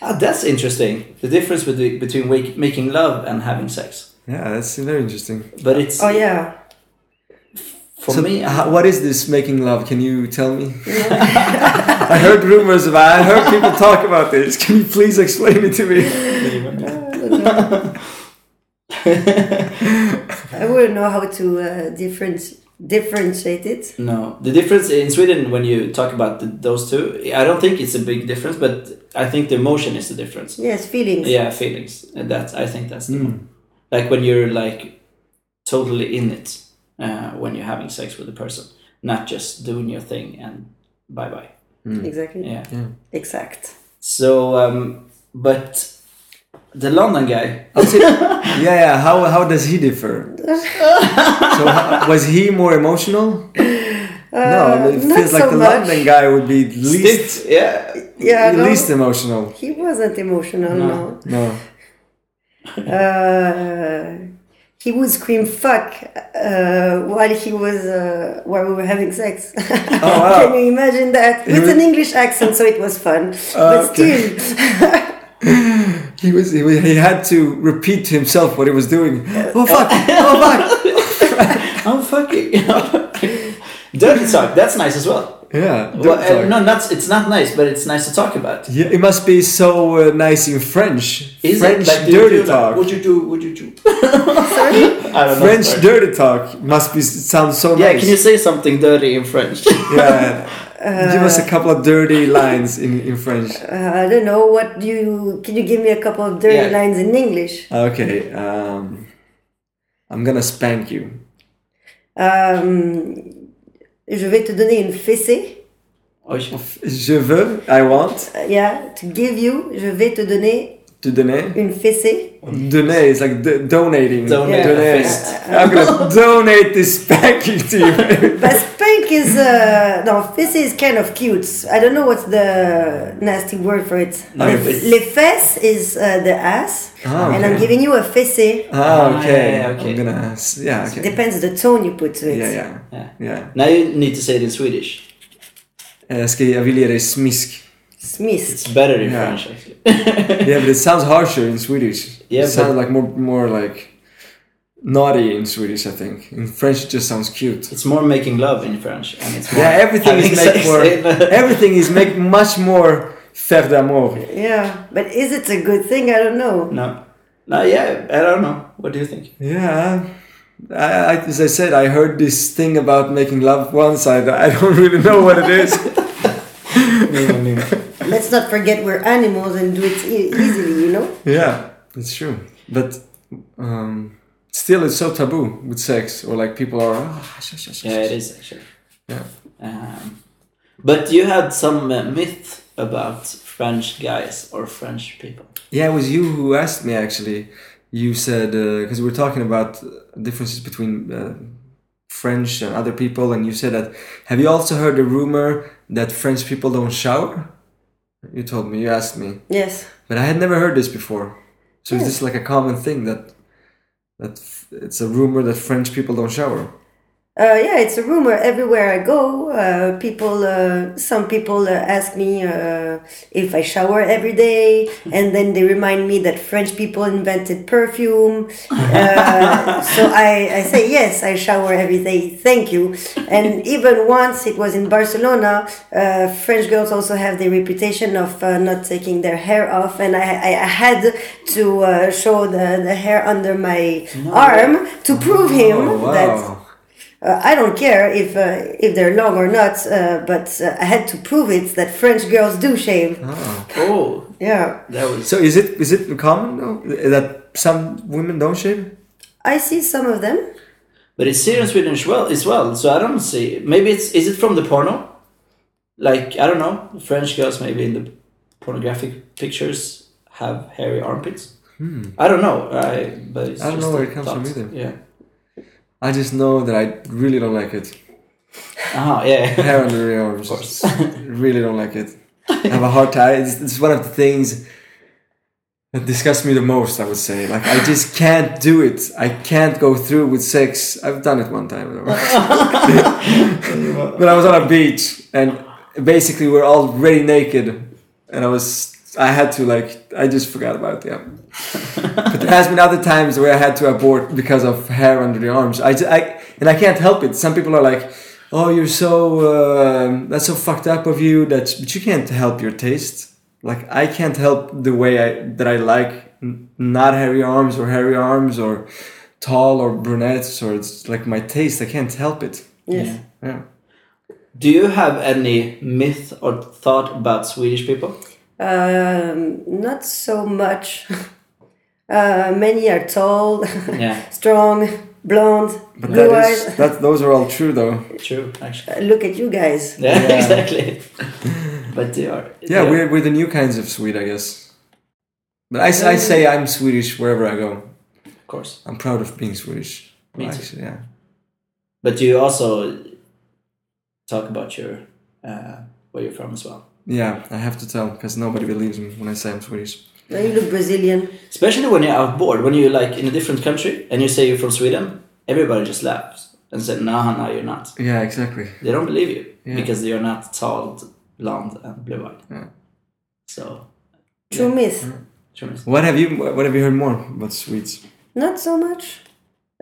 S1: Ah, that's interesting. The difference between between wake, making love and having sex.
S2: Yeah, that's very interesting.
S1: But it's
S3: oh, yeah.
S1: for
S2: so,
S1: me. uh,
S3: (laughs)
S2: ho- uh, what is this making love? Can you tell me? (laughs) I heard rumors about. I heard people talk about this. Can you please explain it to me?
S3: I wouldn't know how to uh, different, differentiate it.
S1: no, the difference in Sweden when you talk about the, those two, I don't think it's a big difference. But I think the emotion is the difference.
S3: Yes, Hmm. feelings.
S1: Yeah, feelings. And That I think that's the one. Like when you're like totally in it uh, when you're having sex with a person, not just doing your thing and bye bye.
S3: Exactly.
S1: Yeah.
S3: Exact.
S1: So, um, but the London guy,
S2: Yeah, yeah. How how does he differ?
S3: (laughs)
S2: so ho- was he more emotional? no, it
S3: Uh, not
S2: feels like
S3: so
S2: the
S3: much.
S2: London guy would be least
S1: Stiff, yeah,
S3: Yeah, no,
S2: least emotional.
S3: he wasn't emotional. No,
S2: No.
S3: Uh, he would scream "fuck" uh, while he was uh, while we were having sex. (laughs)
S2: Oh, wow.
S3: Can you imagine that with
S2: was-
S3: an English accent? So it was
S2: (laughs)
S3: fun, but
S2: Okay.
S3: still,
S2: He was he, was- he had to repeat to himself what he was doing.
S3: Uh,
S2: Oh fuck! Oh
S3: (laughs)
S2: fuck!
S1: I'm fucking. (laughs) dirty talk. That's nice as well.
S2: Yeah. don't
S1: well uh,
S2: talk.
S1: no, that's it's not nice, but it's nice to talk about.
S2: Yeah, it must be so uh, nice in French.
S1: Is
S2: French
S1: it like do you
S2: dirty
S1: do that?
S2: talk.
S1: Would you do? Would you do? (laughs) I don't know.
S2: French
S1: sorry.
S2: dirty talk must be sounds so
S1: Yeah,
S2: nice.
S1: can you say something dirty in
S2: (laughs)
S1: French? (laughs)
S2: yeah. Give us a
S1: Uh,
S2: couple of dirty lines in, in French.
S3: uh, I don't know. What do you? Can you give me a couple of dirty
S1: Yeah.
S3: lines in English?
S2: Okay. Um, I'm gonna spank you.
S3: Euh, je vais te donner une fessée.
S1: Oj.
S2: Je veux, I want,
S3: Uh, Yeah, to give you, je vais te donner
S2: to donate.
S3: une fessée.
S2: Donate is like d- donating.
S1: Donate
S3: a
S2: Donate.
S1: fist.
S2: I'm gonna (laughs) donate this spanking
S1: (laughs)
S2: to you.
S3: But spank is, uh, no, fessée is kind of cute. I don't know what's the nasty word for it. Um,
S1: Okay, but-
S3: Les fesses is uh, the ass,
S2: (laughs) Ah,
S3: and I'm
S2: okay.
S3: giving you a fessée.
S2: Ah,
S1: Ah,
S2: okay.
S1: yeah, yeah, okay.
S2: I'm gonna. s- Yeah, okay.
S3: Depends the tone you put to it.
S2: Yeah, yeah,
S1: Yeah.
S2: yeah.
S1: Now you need to say it in Swedish.
S2: Eh, Jag ska, jag vill ge dig smisk.
S3: Smith.
S1: It's better in
S2: Yeah.
S1: French actually. (laughs)
S2: Yeah, but it sounds harsher in Swedish.
S1: Yeah,
S2: it sounds
S1: but-
S2: like more more like naughty in Swedish. I think in French it just sounds cute.
S1: it's more making love in French, and it's more (laughs)
S2: Yeah, everything is
S1: having
S2: make
S1: sex
S2: more.
S1: in- (laughs)
S2: everything is make much more faire d'amour.
S3: Yeah, but is it a good thing? I don't know.
S1: no, no, yeah, I don't know. What do you think?
S2: Yeah. I, I, as I said, I heard this thing about making love once. I, I don't (laughs) really know what it
S1: (laughs)
S2: is.
S3: Let's not forget we're animals and do it e- easily, you know?
S2: (laughs) yeah, it's true. But um, still, it's so taboo with sex, or like people are. "Ah, sh- sh- sh- sh-
S1: Yeah, it is actually.
S2: Yeah.
S1: Um, but you had some uh, myth about French guys or French people.
S2: Yeah, it was you who asked me actually you said because we were talking about differences between uh, French and other people, and you said that. Have you also heard the rumor that French people don't shower? You told me. You asked me,
S3: Yes.
S2: but I had never heard this before. So is
S3: Yeah.
S2: this like a common thing that that f- it's a rumor that French people don't shower?
S3: Uh, yeah, it's a rumor. Everywhere I go, uh, people, uh, some people uh, ask me uh, if I shower every
S2: (laughs)
S3: day, and then they remind me that French people invented
S2: (laughs)
S3: perfume. Uh, so I, I say yes, I shower every day. Thank you. And
S2: (laughs)
S3: even once it was in Barcelona, uh, French girls also have the reputation of uh, not taking their hair off, and I, I I had to uh, show the, the hair under my arm to prove him
S2: Oh
S3: that.
S2: wow!
S3: Uh, I don't care if uh, if they're long or not, uh, but uh, I had to prove it that French girls do shave.
S1: Oh,
S3: Yeah,
S1: that was.
S2: So is it is it common though, that some women don't shave?
S3: I see some of them.
S1: But it's serious Sweden as well, as well. So I don't see. Maybe it's is it from the porno? Like I don't know, French girls maybe in the pornographic pictures have hairy armpits. I don't know. I but it's
S2: Hmm. I don't
S1: just
S2: know where
S1: a
S2: it comes from
S1: thought.
S2: either.
S1: Yeah.
S2: I just know that I really don't like it.
S1: Uh-huh, yeah.
S2: (laughs) hair on the rear arms.
S1: course.
S2: (laughs) really don't like it. I have a hard time. It's, it's one of the things that disgusts me the most. I would say, like, I just can't do it. I can't go through with sex. I've done it one (laughs) time, but I was on a beach, and basically we're already naked, and I was. I had to like I just forgot about it. Yeah. but there has been other times where I had to abort because of hair under the arms. I, ju- I and I can't help it. Some people are like, "Oh, you're so um that's so fucked up of you." That but you can't help your taste. Like I can't help the way I that I like n- not hairy arms or hairy arms or tall or brunettes or it's like my taste. I can't help it.
S3: Yes.
S1: (laughs) Yeah.
S2: Yeah.
S1: Do you have any myth or thought about Swedish people?
S3: Um, not so much. (laughs) uh, many are tall, (laughs)
S1: Yeah,
S3: strong, blonde,
S2: But
S3: blue
S2: that
S3: eyes.
S2: is that. Those are all true (laughs) though.
S1: (laughs) true. Actually,
S3: Uh, Look at you guys.
S1: yeah, (laughs)
S2: Yeah.
S1: exactly. But they are.
S2: Yeah,
S1: they are-
S2: we're we're the new kinds of Swede, I guess. But I, s- I say I'm Swedish wherever I go.
S1: of course.
S2: I'm proud of being Swedish.
S1: Me too.
S2: Actually, yeah.
S1: But you also talk about your uh, where you're from as well.
S2: Yeah, I have to tell because nobody believes me when I say I'm Swedish.
S3: No, you look Brazilian.
S1: Especially when you're outboard, when you're like in a different country and you say you're from Sweden, everybody just laughs and says, "Nah, no, you're not."
S2: Yeah, exactly.
S1: They don't believe you
S2: Yeah.
S1: because you're not tall, blonde, and blue-eyed.
S2: Yeah.
S1: So,
S3: True myth.
S1: true.
S2: What have you What have you heard more about Swedes?
S3: Not so much.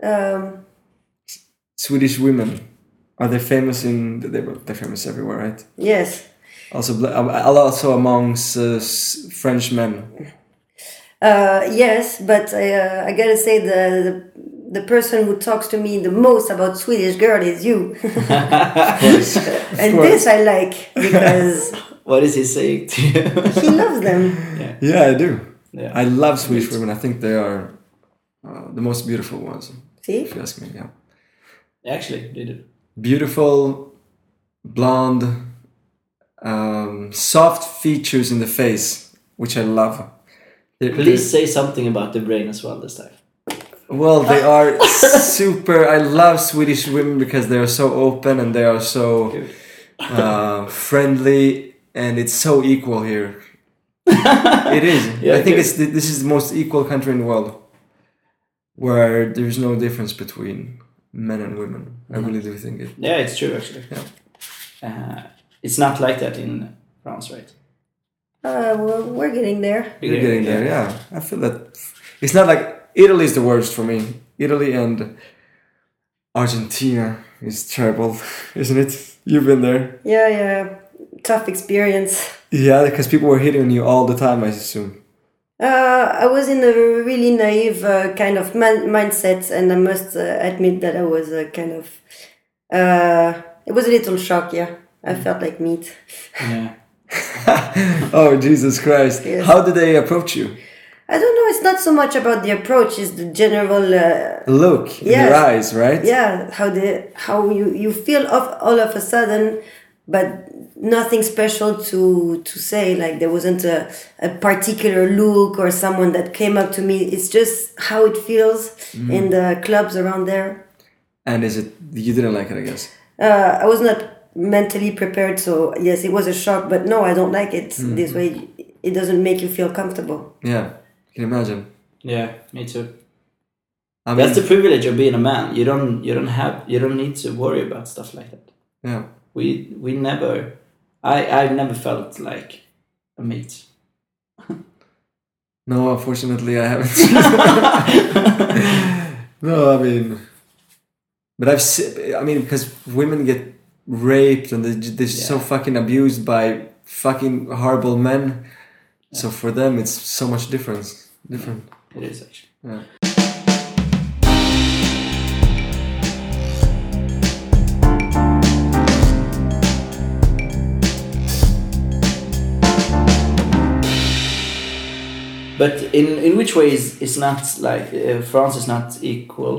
S3: Um,
S2: Swedish women are they famous in? They, they're famous everywhere, right?
S3: yes.
S2: Also, bl- uh, also amongst uh, s- French men.
S3: Uh, yes, but uh, I gotta say the, the the person who talks to me the most about Swedish girl is you, (laughs) and this I like because
S1: (laughs) What is he saying to you? (laughs)
S3: he loves them.
S2: Yeah, I do.
S1: Yeah.
S2: I love Swedish women. I think they are uh, the most beautiful ones.
S3: See,
S2: If you ask me, yeah.
S1: Actually, they do.
S2: beautiful, blonde, um, soft features in the face, which I love. They're-
S1: Please say something about the brain as well this time.
S2: they're- well, they
S1: Uh.
S2: are
S1: (laughs)
S2: super. I love Swedish women because they are so open and they are so
S1: Good.
S2: uh, friendly, and it's so equal
S1: (laughs)
S2: here. it is.
S1: Yeah,
S2: I think
S1: good.
S2: it's the, this is the most equal country in the world, where there's no difference between men and women.
S1: Mm-hmm.
S2: I really do think it.
S1: Yeah, it's true actually. Uh, it's not like that in France, right?
S3: uh, we're, we're getting there.
S2: You're getting there, yeah. I feel that it's not like Italy is the worst for me. Italy and Argentina is terrible, (laughs) isn't it? You've been there,
S3: Yeah, yeah, tough experience.
S2: yeah, because people were hitting you all the time, I assume.
S3: Uh, I was in a really naive uh, kind of man- mindset, and I must uh, admit that I was uh, kind of. Uh, it was a little shock. Yeah, I felt like meat.
S1: Yeah.
S2: Oh Jesus Christ!
S3: Yes.
S2: How did they approach you?
S3: I don't know. It's not so much about the approach; it's the general. Uh,
S2: Look in
S3: Yes.
S2: their eyes, right?
S3: yeah how the how you you feel of all of a sudden but nothing special to to say like there wasn't a, a particular look or someone that came up to me it's just how it feels in the clubs around there
S2: And is it you didn't like it? I guess.
S3: uh, i was not mentally prepared so yes it was a shock but no i don't like it this way it doesn't make you feel comfortable
S2: Yeah, can you imagine?
S1: Yeah, me too.
S2: I mean,
S1: That's the privilege of being a man. You don't you don't have you don't need to worry about stuff like that.
S2: yeah.
S1: We we never I I've never felt like a mate.
S2: No, unfortunately, I
S1: (laughs)
S2: haven't. (laughs) no, I mean, but I've. se- I mean, because women get raped and they j- they're so fucking abused by fucking horrible men. So for them, it's so much difference. Different.
S1: It is actually.
S2: Yeah.
S1: But in in which way is it's not like uh, France is not equal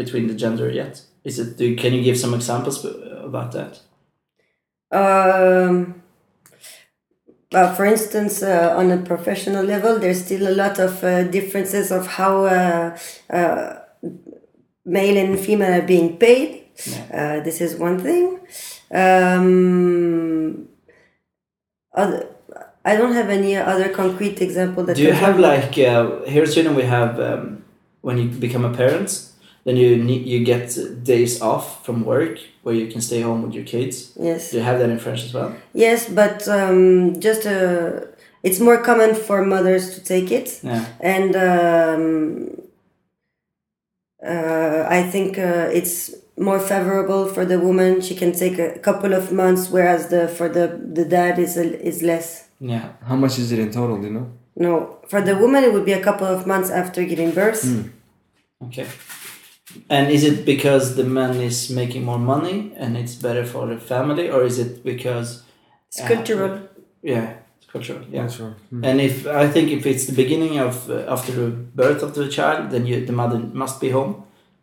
S1: between the gender yet? Is it? Do, can you give some examples uh, about that?
S3: um, uh, for instance, uh, on a professional level, there's still a lot of uh, differences of how uh, uh, male and female are being paid. Uh, this is one thing. Um, other, I don't have any other concrete example that
S1: Do you
S3: comes
S1: have
S3: up.
S1: like uh, here in Sweden we have um, when you become a parent, then you need you get days off from work where you can stay home with your kids.
S3: yes
S1: Do you have that in French as well?
S3: yes, but um, just uh, it's more common for mothers to take it.
S1: Yeah.
S3: and um, uh, I think uh, it's more favorable for the woman. She can take a couple of months, whereas the for the the dad is a, is less.
S1: Yeah.
S2: How much is it in total? Do you know?
S3: No, for the woman it would be a couple of months after giving birth.
S1: Mm. Hmm. Okay. And is it because the man is making more money and it's better for the family, or is it because uh,
S3: It's cultural.
S1: yeah, it's cultural. Yeah.
S2: Sure. Hmm.
S1: And if I think if it's the beginning of uh, after the birth of the child, then you, the mother must be home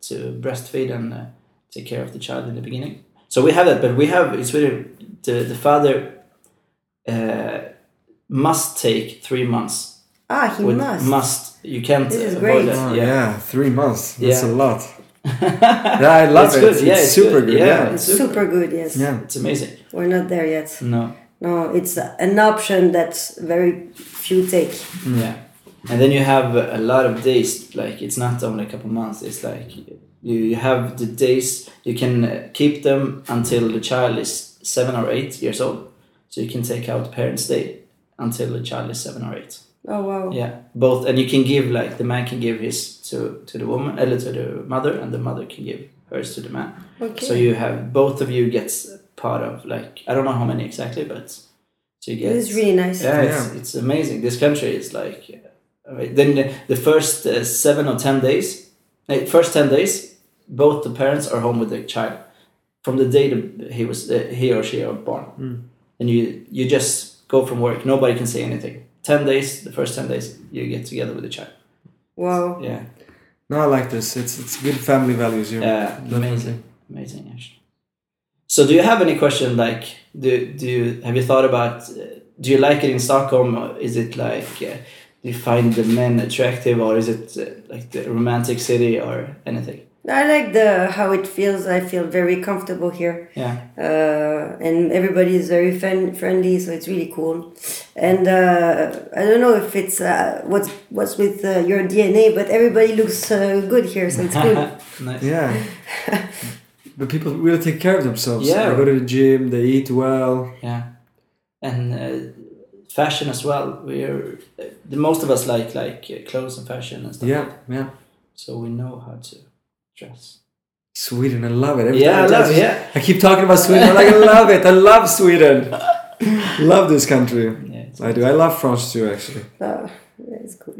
S1: to breastfeed and uh, take care of the child in the beginning. So we have that, but we have it's really the the father uh, must take three months.
S3: Ah, he
S1: With
S3: must.
S1: you can't
S3: This is
S1: avoid
S3: great.
S1: that.
S2: Oh, yeah.
S1: uh, yeah.
S2: three months. That's
S1: Yeah.
S2: a
S1: (laughs)
S2: lot. yeah, I love
S1: It's
S2: it.
S1: good,
S2: It's,
S1: yeah, it's
S2: super
S1: good,
S2: good.
S1: yeah.
S2: Yeah.
S3: It's super good. Yes,
S2: Yeah.
S1: It's amazing.
S3: we're not there yet.
S1: No.
S3: No, it's an option that very few take.
S1: Yeah. And then you have a lot of days. Like it's not only a couple months. It's like you, you have the days. You can uh, keep them until the child is seven or eight years old. So you can take out parents' day until the child is seven or eight.
S3: Oh wow.
S1: Yeah, both, and you can give like the man can give his to to the woman, or to the mother, and the mother can give hers to the man.
S3: Okay.
S1: So you have both of you gets part of like I don't know how many exactly, but so you get
S3: This is really nice.
S1: yeah, It's, it's amazing. This country is like, uh, I mean, then the, the first uh, seven or ten days, eh, first ten days, both the parents are home with the child from the day the, he was uh, he or she are born,
S2: Hmm.
S1: and you you just go from work. Nobody can say anything. Ten days, the first ten days, you get together with the child.
S3: Wow.
S1: Yeah,
S2: No, I like this. It's it's good family values here.
S1: yeah, amazing, amazing actually. So, do you have any question? Like, do do you have you thought about? Uh, do you like it in Stockholm? Or is it like uh, do you find the men attractive, or is it uh, like the romantic city, or anything?
S3: I like the how it feels. I feel very comfortable here.
S1: Yeah,
S3: uh, and everybody is very friend- friendly, so it's really cool. And uh, I don't know if it's uh, what's what's with uh, your DNA, but everybody looks uh, good here, so
S1: (laughs)
S3: it's cool.
S2: (laughs)
S1: nice.
S2: Yeah. but people really take care of themselves.
S1: Yeah.
S2: They go to the gym, they eat well.
S1: Yeah, and uh, fashion as well. We're uh, the most of us like like uh, clothes and fashion and stuff.
S2: Yeah, yeah.
S1: So we know how to dress.
S2: Sweden, I love it. Every
S1: Yeah,
S2: time
S1: I love
S2: touch-
S1: it, yeah.
S2: I keep talking about Sweden. I'm
S1: (laughs)
S2: like, I love it. I love Sweden. love this country.
S1: Yeah, it's,
S2: I do. I love France too, actually.
S3: Uh, yeah, it's cool.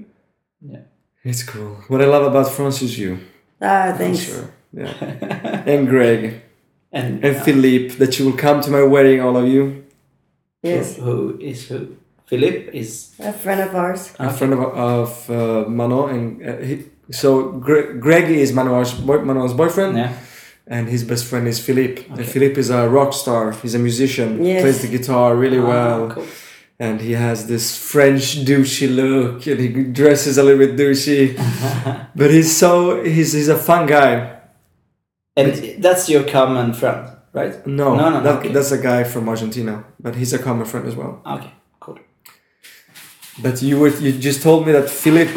S1: yeah.
S2: It's cool. What I love about France is you.
S3: Ah, thanks.
S2: Sure. Yeah. and Greg.
S1: And, uh,
S2: And Philippe, that you will come to my wedding, all of you.
S3: Yes,
S1: who is who? Philip is
S3: a friend of ours.
S2: A friend of, of uh, Manon. And, uh, he, so Gre- Greg is Manon's, boy, Manon's boyfriend.
S1: Yeah.
S2: and his best friend is Philippe. And Philippe is a rock star. He's a musician.
S3: Yes.
S2: Plays the guitar really
S1: Ah.
S2: well.
S1: cool.
S2: And he has this French douchey look, and he dresses a little bit douchey. but he's so he's he's a fun guy.
S1: And that's your common friend, right?
S2: No,
S1: No, no,
S2: that-
S1: okay.
S2: that's a guy from Argentina, but he's a common friend as well.
S1: Okay, cool.
S2: But you were you just told me that Philippe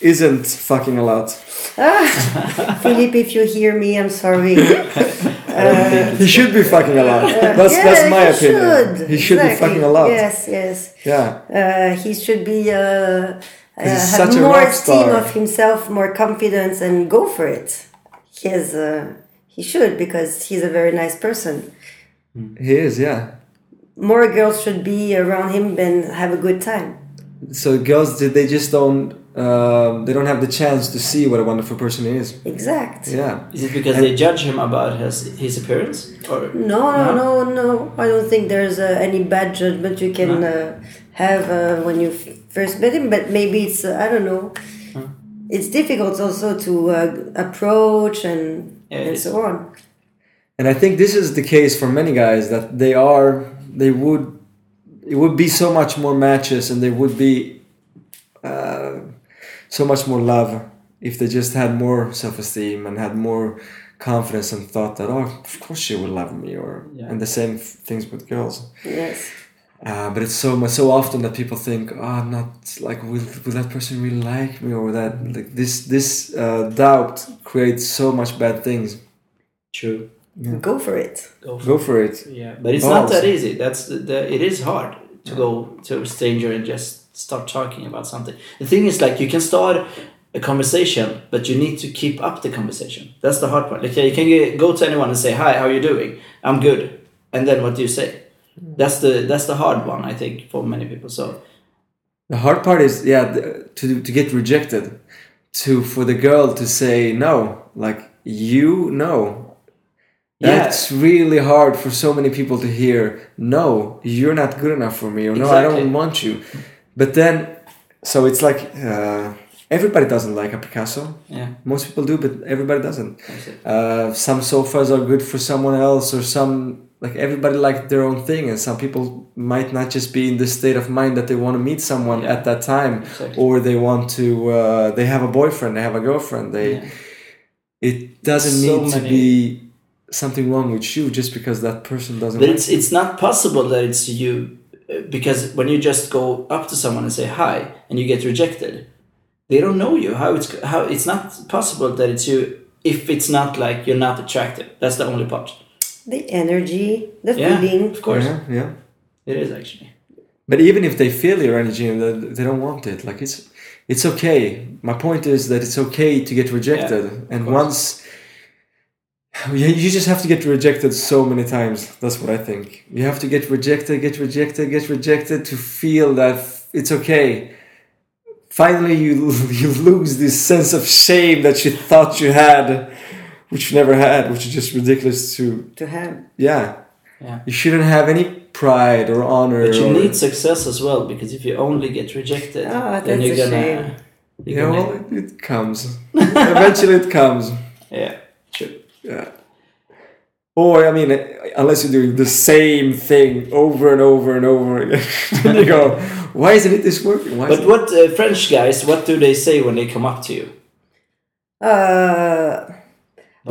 S2: isn't fucking allowed.
S3: Ah, Philippe, if you hear me, I'm
S2: (laughs)
S3: sorry.
S2: Uh, He should be fucking allowed. That's
S3: Yeah,
S2: that's my
S3: he
S2: opinion.
S3: should.
S2: He should be
S3: Exactly.
S2: fucking allowed.
S3: Yes, yes.
S2: Yeah.
S3: Uh, he should be uh, uh,
S2: he's
S3: have
S2: such a
S3: more
S2: rock
S3: esteem
S2: star.
S3: of himself, more confidence, and go for it. He has. Uh, he should because he's a very nice person.
S2: He is, yeah.
S3: More girls should be around him and have a good time.
S2: So girls, they- they just don't, um, they don't have the chance to see what a wonderful person he is.
S3: Exact.
S2: Yeah.
S1: Is it because they judge him about his his appearance? Or
S3: No, no, no, no. I don't think there's uh, any bad judgment you can uh, have uh, when you f- first met him, but maybe it's, uh, I don't know. It's difficult also to uh, approach and,
S1: Yeah, it
S3: and
S1: is.
S3: so on.
S2: And I think this is the case for many guys that they are, they would, it would be so much more matches and they would be uh, so much more love if they just had more self-esteem and had more confidence and thought that, oh, of course she will love me or,
S1: Yeah.
S2: and the same things with girls.
S3: Yes.
S2: Uh, but it's so much so often that people think, oh, I'm not like will, will that person really like me or that like this this uh, doubt creates so much bad things.
S1: True.
S3: Go for it.
S1: Go for
S2: Go for it.
S1: Yeah, but it's not
S2: Balls.
S1: that easy. That's the, the it is hard to go to a stranger and just start talking about something. The thing is, like, you can start a conversation, but you need to keep up the conversation. That's the hard part. Like, yeah, you can get, go to anyone and say, "Hi, how are you doing? I'm good," and then what do you say?
S2: Hmm.
S1: That's the that's the hard one, I think, for many people. So
S2: The hard part is yeah th- to to get rejected, to for the girl to say no, like you no.
S1: Yeah.
S2: That's really hard for so many people to hear. No, you're not good enough for me, or no, I
S1: Exactly.
S2: don't want you. But then, so it's like uh, everybody doesn't like a Picasso.
S1: yeah,
S2: Most people do, but everybody doesn't.
S1: that's it.
S2: Uh, some sofas are good for someone else, or some like everybody like their own thing, and some people might not just be in the state of mind that they want to meet someone
S1: Yeah.
S2: at that time,
S1: Exactly.
S2: or they want to. Uh, they have a boyfriend, they have a girlfriend. They
S1: Yeah.
S2: it doesn't
S1: So
S2: need to
S1: many-
S2: be something wrong with you just because that person doesn't.
S1: But
S2: like
S1: it's it's not possible that it's you uh, because when you just go up to someone and say hi and you get rejected, they don't know you. How it's how it's not possible that it's you if it's not like you're not attractive. That's the only part.
S3: The energy, the
S1: Yeah,
S3: feeling.
S1: of course
S2: yeah, yeah.
S1: it is actually.
S2: But even if they feel your energy and they- they don't want it, like it's it's okay. My point is that it's okay to get rejected, and
S1: course.
S2: once you you just have to get rejected so many times. That's what I think. You have to get rejected, get rejected, get rejected to feel that it's okay. Finally, you (laughs) you lose this sense of shame that you thought you had, which you never had, which is just ridiculous. To
S3: To have.
S2: yeah,
S1: Yeah.
S2: you shouldn't have any pride or honor.
S1: But you
S2: or,
S1: need success as well because if you only get rejected,
S3: Ah,
S1: then
S3: that's
S1: you're
S3: a
S1: gonna.
S3: shame.
S1: You're
S2: Yeah,
S1: gonna
S2: well, it- it comes. Eventually, it comes.
S1: yeah, true.
S2: Yeah. Or I mean, unless you're doing the same thing over and over and over again, (laughs) then you go, "Why isn't it this working?" Why
S1: But
S2: isn't
S1: what uh, French guys? What do they say when they come up to you?
S3: Uh,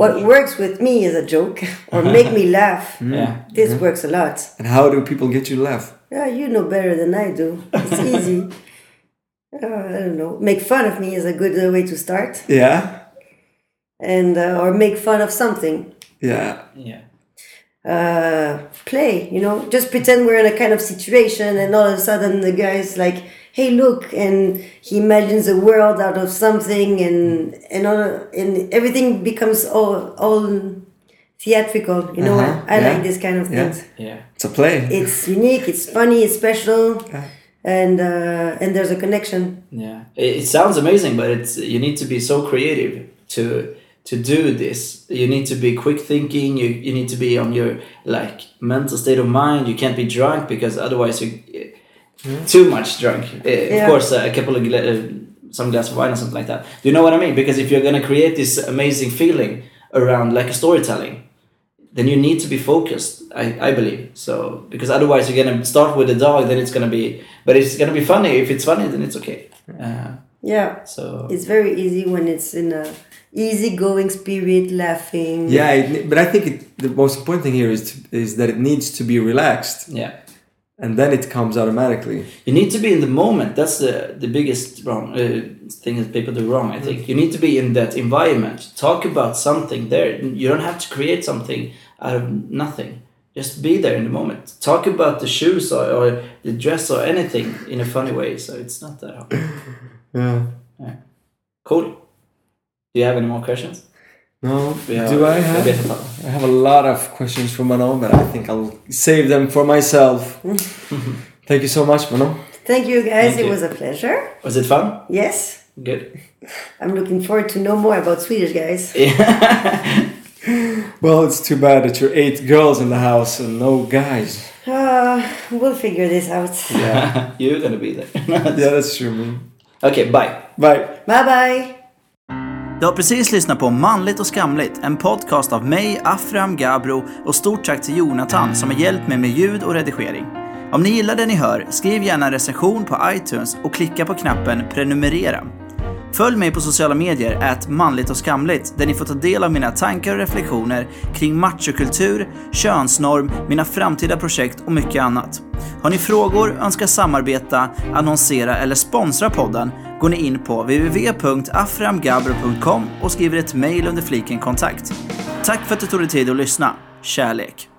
S3: what works with me is a joke or make me laugh.
S1: Yeah,
S3: This works a lot.
S2: and how do people get you to laugh?
S3: Yeah, you know better than I do. It's easy. Uh, I don't know. Make fun of me is a good uh, way to start,
S2: Yeah,
S3: and uh, or make fun of something.
S2: yeah,
S1: yeah,
S3: Uh, play, you know, just pretend we're in a kind of situation, and all of a sudden the guy's like, "Hey, look!" and he imagines a world out of something, and and all, and everything becomes all all theatrical. You know,
S2: Uh-huh,
S3: I, I
S2: yeah,
S3: like this kind of
S2: yeah.
S3: things.
S1: yeah.
S2: it's a play.
S3: It's unique. It's funny. It's special. And uh, and there's a connection.
S1: Yeah, it, it sounds amazing, but it's you need to be so creative to to do this. You need to be quick thinking. You you need to be on your like mental state of mind. You can't be drunk because otherwise you too much drunk. Uh, Of
S3: Yeah.
S1: course, uh, a couple of gla- uh, some glass of wine or something like that. Do you know what I mean? Because if you're gonna create this amazing feeling around like a storytelling then you need to be focused i, I believe so because otherwise you're gonna start with the dog then it's gonna be but it's gonna be funny if it's funny then it's okay uh,
S3: Yeah.
S1: so
S3: It's very easy when it's in a easygoing spirit, laughing.
S2: Yeah, it, ne- but I think it, the most important thing here is to, is that it needs to be relaxed,
S1: yeah
S2: and then it comes automatically.
S1: you need to be in the moment that's the the biggest wrong uh, thing that people do wrong i think you need to be in that environment talk about something there you don't have to create something out of nothing just be there in the moment talk about the shoes or, or the dress or anything in a funny way so it's not that hard
S2: Yeah.
S1: cool do you have any more questions
S2: No.
S1: We have-
S2: Do I
S1: a bit
S2: have?
S1: of-
S2: I have a lot of questions for Manon, but I think I'll save them for myself. Thank you so much, Manon.
S3: Thank you guys.
S1: Thank
S3: it
S1: you.
S3: was a pleasure.
S1: was it fun
S3: Yes.
S1: good
S3: I'm looking forward to know more about Swedish guys.
S2: Well, it's too bad that you're eight girls in the house and no guys.
S3: Uh, we'll figure this out.
S2: Yeah,
S1: you're gonna be there (laughs)
S2: yeah, that's true. Man.
S1: okay bye
S2: Bye.
S3: Bye bye.
S4: Du har precis lyssnat på Manligt och skamligt, en podcast av mig, Afram Gabro och stort tack till Jonathan som har hjälpt mig med ljud och redigering. Om ni gillar det ni hör, skriv gärna en recension på iTunes och klicka på knappen prenumerera. Följ mig på sociala medier, at manligt och skamligt, där ni får ta del av mina tankar och reflektioner kring machokultur, könsnorm, mina framtida projekt och mycket annat. Har ni frågor, önskar samarbeta, annonsera eller sponsra podden går ni in på www.aframgabro.com och skriver ett mejl under fliken kontakt. Tack för att du tog dig tid att lyssna. Kärlek!